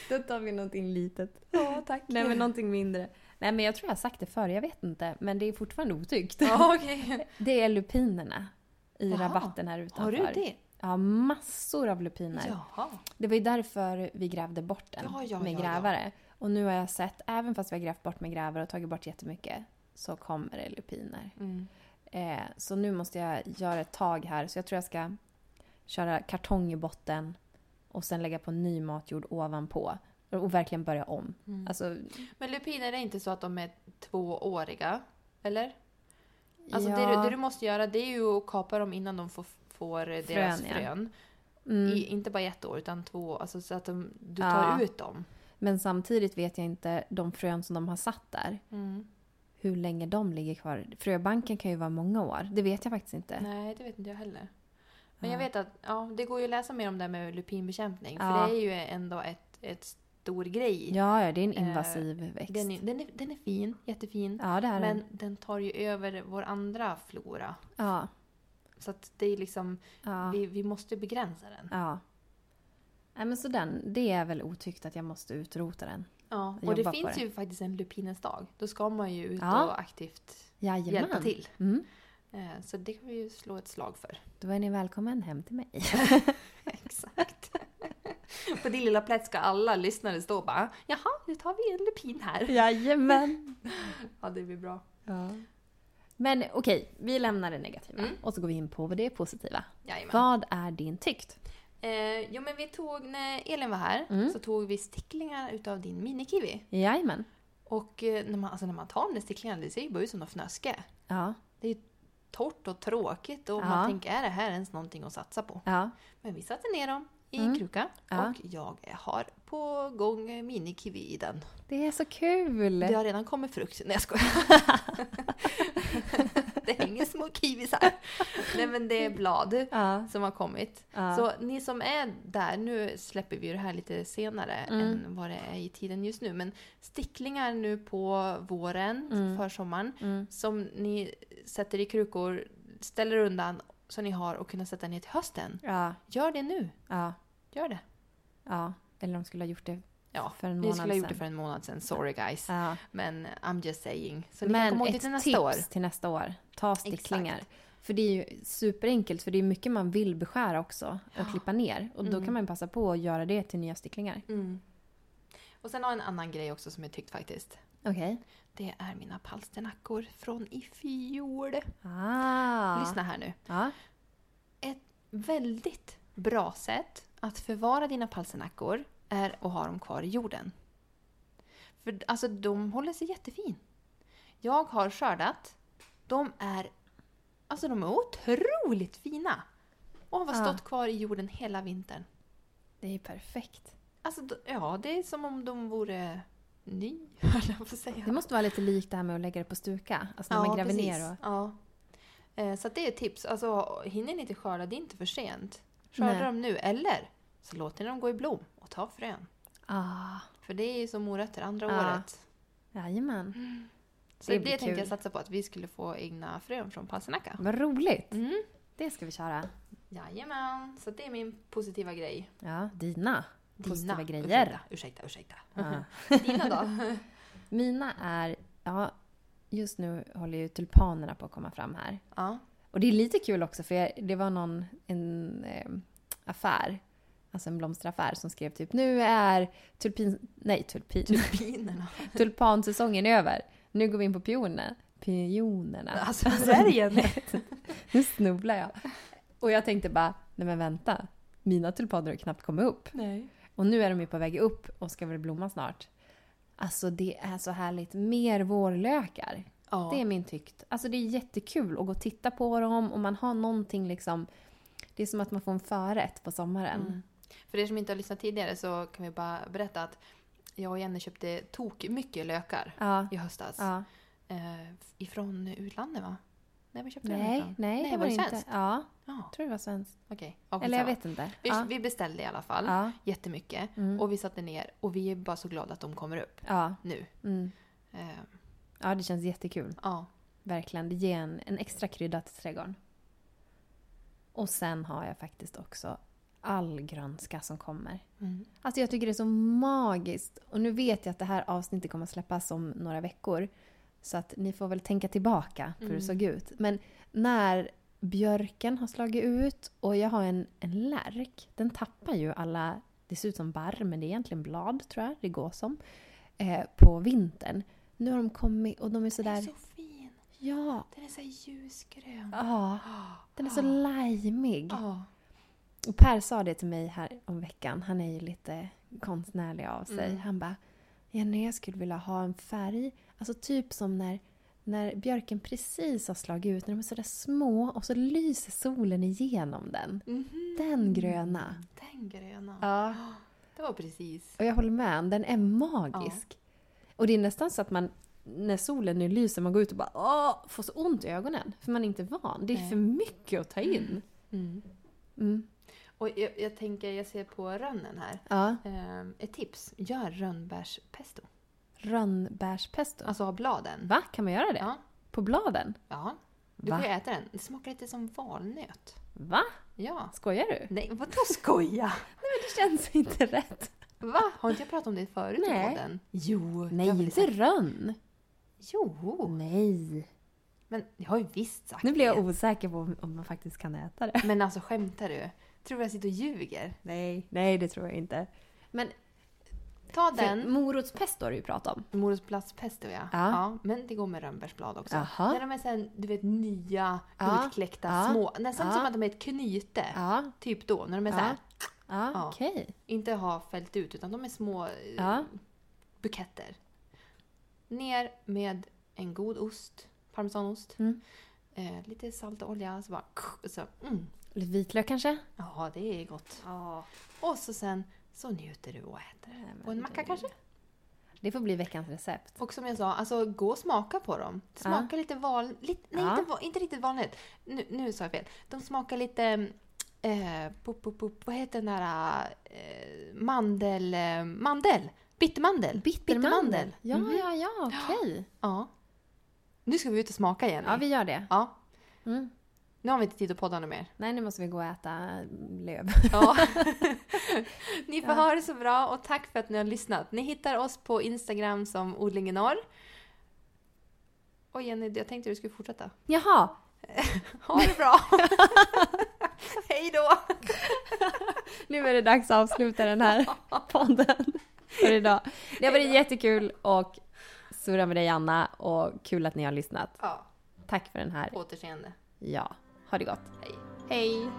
S1: Då tar vi någonting litet.
S2: Ja, tack.
S1: Nej, men någonting mindre. Nej, men jag tror jag har sagt det förr, jag vet inte. Men det är fortfarande otygt.
S2: Ja, okej.
S1: Det är lupinerna i
S2: Jaha.
S1: rabatten här
S2: Har
S1: utanför.
S2: du det?
S1: Ja, massor av lupiner.
S2: Jaha.
S1: Det var ju därför vi grävde bort den
S2: Ja, ja,
S1: med
S2: ja,
S1: grävare. Och nu har jag sett, även fast vi har grävt bort med grävare och tagit bort jättemycket, så kommer det lupiner.
S2: Mm.
S1: Eh, så nu måste jag göra ett tag här. Så jag tror jag ska köra kartong i botten och sen lägga på ny matjord ovanpå. Och verkligen börja
S2: Mm.
S1: om. Alltså,
S2: Men lupiner är inte så att de är tvååriga? Eller? Alltså
S1: alltså ja,
S2: det, du, det du måste göra det är ju att kapa dem innan de får, får eh, deras
S1: Frön, ja.
S2: frön.
S1: mm.
S2: I, inte bara i ett år utan två, alltså så att de, du
S1: Ja.
S2: tar ut dem.
S1: Men samtidigt vet jag inte de frön som de har satt där,
S2: Mm.
S1: hur länge de ligger kvar. Fröbanken kan ju vara många år. Det vet jag faktiskt inte.
S2: Nej, det vet inte jag heller. Men jag
S1: Ja.
S2: vet att ja, det går ju att läsa mer om det här med lupinbekämpning.
S1: Ja.
S2: För det är ju ändå ett, ett stor grej.
S1: Ja, ja, det är en
S2: Eh,
S1: invasiv växt.
S2: Den, är, den, är, den är fin, jättefin.
S1: Ja, det är
S2: men
S1: den.
S2: den tar ju över vår andra flora.
S1: Ja,
S2: Så att det är liksom,
S1: ja,
S2: vi, vi måste begränsa den.
S1: ja. Nej, men så den, det är väl otyckt att jag måste utrota den.
S2: Ja,
S1: Jobba
S2: och det
S1: på
S2: finns
S1: det.
S2: ju faktiskt en lupinens dag. Då ska man ju ut
S1: Ja.
S2: och aktivt
S1: Jajamän.
S2: hjälpa till.
S1: Mm.
S2: Eh, Så det kan vi ju slå ett slag för.
S1: Då är ni välkommen hem till mig.
S2: Exakt. På din lilla plätt ska alla lyssnare stå och bara “Jaha, nu tar vi en lupin här”.
S1: Jajamän.
S2: Ja, det blir bra.
S1: Ja. Men okej, vi lämnar det negativa
S2: Mm.
S1: och så går vi in på vad det är positiva.
S2: Jajamän.
S1: Vad är din tyckt?
S2: Eh, jo, men vi tog, när Elin var här,
S1: Mm.
S2: så tog vi sticklingar utav din minikiwi.
S1: Jajamän.
S2: Och eh, när man, alltså, när man tar de där sticklingarna, det ser ju bara ut som något fnöske.
S1: Ja,
S2: Torrt och tråkigt och
S1: Ja.
S2: man tänker, är det här ens någonting att satsa på?
S1: ja.
S2: Men vi satte ner dem i
S1: Mm.
S2: kruka.
S1: Ja.
S2: Och jag har på gång minikiwi i den.
S1: Det är så kul!
S2: Det har redan kommit frukt. Nej jag skojar. det hänger små kiwisar. Nej men det är blad
S1: Ja.
S2: som har kommit.
S1: Ja.
S2: Så ni som är där, nu släpper vi ju det här lite senare
S1: Mm.
S2: än vad det är i tiden just nu. Men sticklingar nu på våren,
S1: Mm.
S2: försommaren,
S1: Mm.
S2: som ni sätter i krukor, ställer undan så ni har och kunna sätta ner till hösten.
S1: ja,
S2: Gör det nu.
S1: ja,
S2: Gör det.
S1: ja. Eller de skulle ha gjort det
S2: Ja,
S1: för en
S2: ni
S1: månad
S2: skulle ha gjort
S1: sedan.
S2: det för en månad sedan. Sorry guys.
S1: Ja.
S2: Men I'm just saying. Så ni kan
S1: Men
S2: komma
S1: ett
S2: ihåg det till nästa
S1: tips
S2: år.
S1: till nästa år. Ta sticklingar. För det är ju superenkelt, för det är mycket man vill beskära också och klippa ner. Och då
S2: Mm.
S1: kan man passa på att göra det till nya sticklingar.
S2: Mm. Och sen har jag en annan grej också som jag tyckt faktiskt.
S1: Okej.
S2: Det är mina palsternackor från i fjol.
S1: Ah.
S2: Lyssna här nu.
S1: Ja.
S2: Väldigt bra sätt att förvara dina palsternackor är att ha dem kvar i jorden. För alltså de håller sig jättefin. Jag har skördat. De är alltså de är otroligt fina. Och har
S1: Ja.
S2: stått kvar i jorden hela vintern.
S1: Det är ju perfekt.
S2: Alltså d- ja, det är som om de vore ny, höll jag på att säga.
S1: Det måste vara lite likt det här med att lägga det på stuka. Alltså när man gräver
S2: precis.
S1: ner och...
S2: Ja. Eh, Så att det är ett tips. Alltså, hinner ni inte skörda, det är inte för sent. Skörda
S1: Nej.
S2: dem nu, eller så låter ni dem gå i blom och ta frön.
S1: Ah.
S2: För det är ju som morötter andra
S1: Ja.
S2: året.
S1: Jajamän.
S2: Så
S1: Det
S2: det,
S1: blir
S2: tänkte
S1: kul.
S2: jag satsa på, att vi skulle få egna frön från palsternacka.
S1: Vad roligt!
S2: Mm.
S1: Det ska vi köra.
S2: Jajamän, så det är min positiva grej.
S1: Ja, dina. Positiva
S2: Ursäkta,
S1: grejer.
S2: ursäkta, ursäkta.
S1: Ja.
S2: Dina då?
S1: Mina är... Ja, just nu håller ju tulpanerna på att komma fram här.
S2: ja.
S1: Och det är lite kul också för jag, det var någon en, eh, affär, alltså en blomsteraffär som skrev typ nu är tulpin, nej tulpin,
S2: Turbinerna.
S1: tulpansäsongen över. Nu går vi in på pioner. Pionerna.
S2: Alltså, hur är det igen?
S1: Nu snubblar jag. Och jag tänkte bara, nej men vänta. Mina tulpaner har knappt kommit upp.
S2: Nej.
S1: Och nu är de ju på väg upp och ska väl blomma snart. Alltså det är så härligt. Mer vårlökar.
S2: Ja.
S1: Det är min tyckt. Alltså det är jättekul att gå och titta på dem och man har någonting liksom. Det är som att man får en förrätt på sommaren.
S2: Mm. För er som inte har lyssnat tidigare så kan vi bara berätta att jag och Jenny köpte tok mycket lökar
S1: Ja.
S2: i höstas.
S1: ja.
S2: Eh, ifrån utlandet va? Nej, vi köpte dem
S1: Nej,
S2: ifrån.
S1: nej, det var det inte.
S2: svenskt?
S1: Ja,
S2: Ja,
S1: tror det var svenskt.
S2: okej. Ja,
S1: Eller jag
S2: skitsamma.
S1: vet inte.
S2: Vi,
S1: Ja.
S2: vi beställde i alla fall
S1: Ja.
S2: jättemycket
S1: Mm.
S2: och vi satte ner och vi är bara så glada att de kommer upp
S1: Ja.
S2: nu.
S1: Mm.
S2: Eh,
S1: ja, det känns jättekul.
S2: ja.
S1: Verkligen. Det ger en, en extra krydda till trädgården. Och sen har jag faktiskt också all grönska som kommer.
S2: Mm.
S1: Alltså jag tycker det är så magiskt. Och nu vet jag att det här avsnittet kommer att släppas om några veckor. Så att ni får väl tänka tillbaka på hur det
S2: Mm.
S1: såg ut. Men när björken har slagit ut och jag har en, en lärk. Den tappar ju alla, det ser ut som barr men det är egentligen blad tror jag det går som. Eh, på vintern. Nu har de kommit och de är
S2: Den är
S1: sådär...
S2: så fin!
S1: Ja!
S2: Den är så här ljusgrön.
S1: Ah,
S2: Ah.
S1: den är så limeig.
S2: Ah.
S1: Och Per sa det till mig här om veckan. Han är ju lite konstnärlig av sig.
S2: Mm.
S1: Han bara Jenny, jag skulle vilja ha en färg. Alltså typ som när, när björken precis har slagit ut, när de är sådär små och så lyser solen igenom den.
S2: Mhm.
S1: Den gröna.
S2: Den gröna.
S1: Ja.
S2: Det var precis.
S1: Och jag håller med, den är magisk.
S2: Ah.
S1: Och det är nästan så att man, när solen nu lyser, man går ut och bara åh, får så ont i ögonen. För man är inte van. Det är
S2: Nej.
S1: för mycket att ta in.
S2: Mm.
S1: Mm.
S2: Och jag, jag tänker, jag ser på rönnen här.
S1: Ja.
S2: Eh, ett tips. Gör rönnbärspesto.
S1: Rönnbärspesto.
S2: Alltså av bladen.
S1: Va? Kan man göra det?
S2: Ja.
S1: På bladen?
S2: ja. Du
S1: Va?
S2: får ju äta den. Det smakar lite som valnöt.
S1: Va?
S2: Ja.
S1: Skojar du?
S2: Nej, vadå skoja?
S1: Det känns inte rätt.
S2: Va? Har inte jag pratat om det förut
S1: Nej.
S2: i podden? Jo.
S1: Nej,
S2: jag har väl
S1: inte
S2: sagt-
S1: rönn.
S2: Jo.
S1: Nej.
S2: Men jag har ju visst sagt
S1: Oh. Nu blir jag
S2: det.
S1: osäker på om, om man faktiskt kan äta det.
S2: Men alltså skämtar du? Tror du jag sitter och ljuger?
S1: Nej. Nej, det tror jag inte. Men
S2: Ta
S1: för
S2: den.
S1: morotspesto har du ju pratat om.
S2: Morotsplatspesto ja.
S1: Ja.
S2: Men det går med rönnbärsblad också.
S1: Jaha.
S2: När de är sen, du vet nya,
S1: Ja.
S2: utkläckta,
S1: Ja.
S2: små. Nästan
S1: Ja.
S2: som att de är ett knyte.
S1: Ja.
S2: Typ då, när de är
S1: Ja.
S2: så här.
S1: Ja,
S2: Ja.
S1: okej.
S2: Inte ha fällt ut, utan de är små eh,
S1: Ja.
S2: buketter. Ner med en god ost, parmesanost,
S1: Mm.
S2: eh, lite salt och olja, så bara... Och så, mm,
S1: Lite vitlök kanske?
S2: Ja, det är gott.
S1: Ja.
S2: Och så sen så njuter du och äter. Och en macka kanske?
S1: Det får bli veckans recept.
S2: Och som jag sa, alltså gå och smaka på dem. Smaka lite van... Lite, nej,
S1: Ja.
S2: inte, va- inte riktigt vanligt. Nu, nu sa jag fel. De smakar lite... Eh, pop, pop, pop, vad heter den där... Eh, mandel... Eh, mandel! Bittermandel! Bittermandel.
S1: Ja,
S2: Mhm.
S1: ja, ja, okej.
S2: Ja. Nu ska vi ut och smaka igen.
S1: Ja, vi gör det.
S2: ja.
S1: Mm.
S2: Nu har vi inte tid att podda något mer.
S1: Nej, nu måste vi gå och äta löv.
S2: Ja. ni får ha det så bra och tack för att ni har lyssnat. Ni hittar oss på Instagram som odlingen norr. Och Jenny, jag tänkte du skulle fortsätta.
S1: Jaha,
S2: Ha det bra! Hej då!
S1: nu är det dags att avsluta den här podden för idag. Det har varit jättekul och surra med dig Anna och kul att ni har lyssnat.
S2: Ja,
S1: Tack för den här.
S2: på återseende.
S1: Ja, ha det gott.
S2: Hej.
S1: Hej!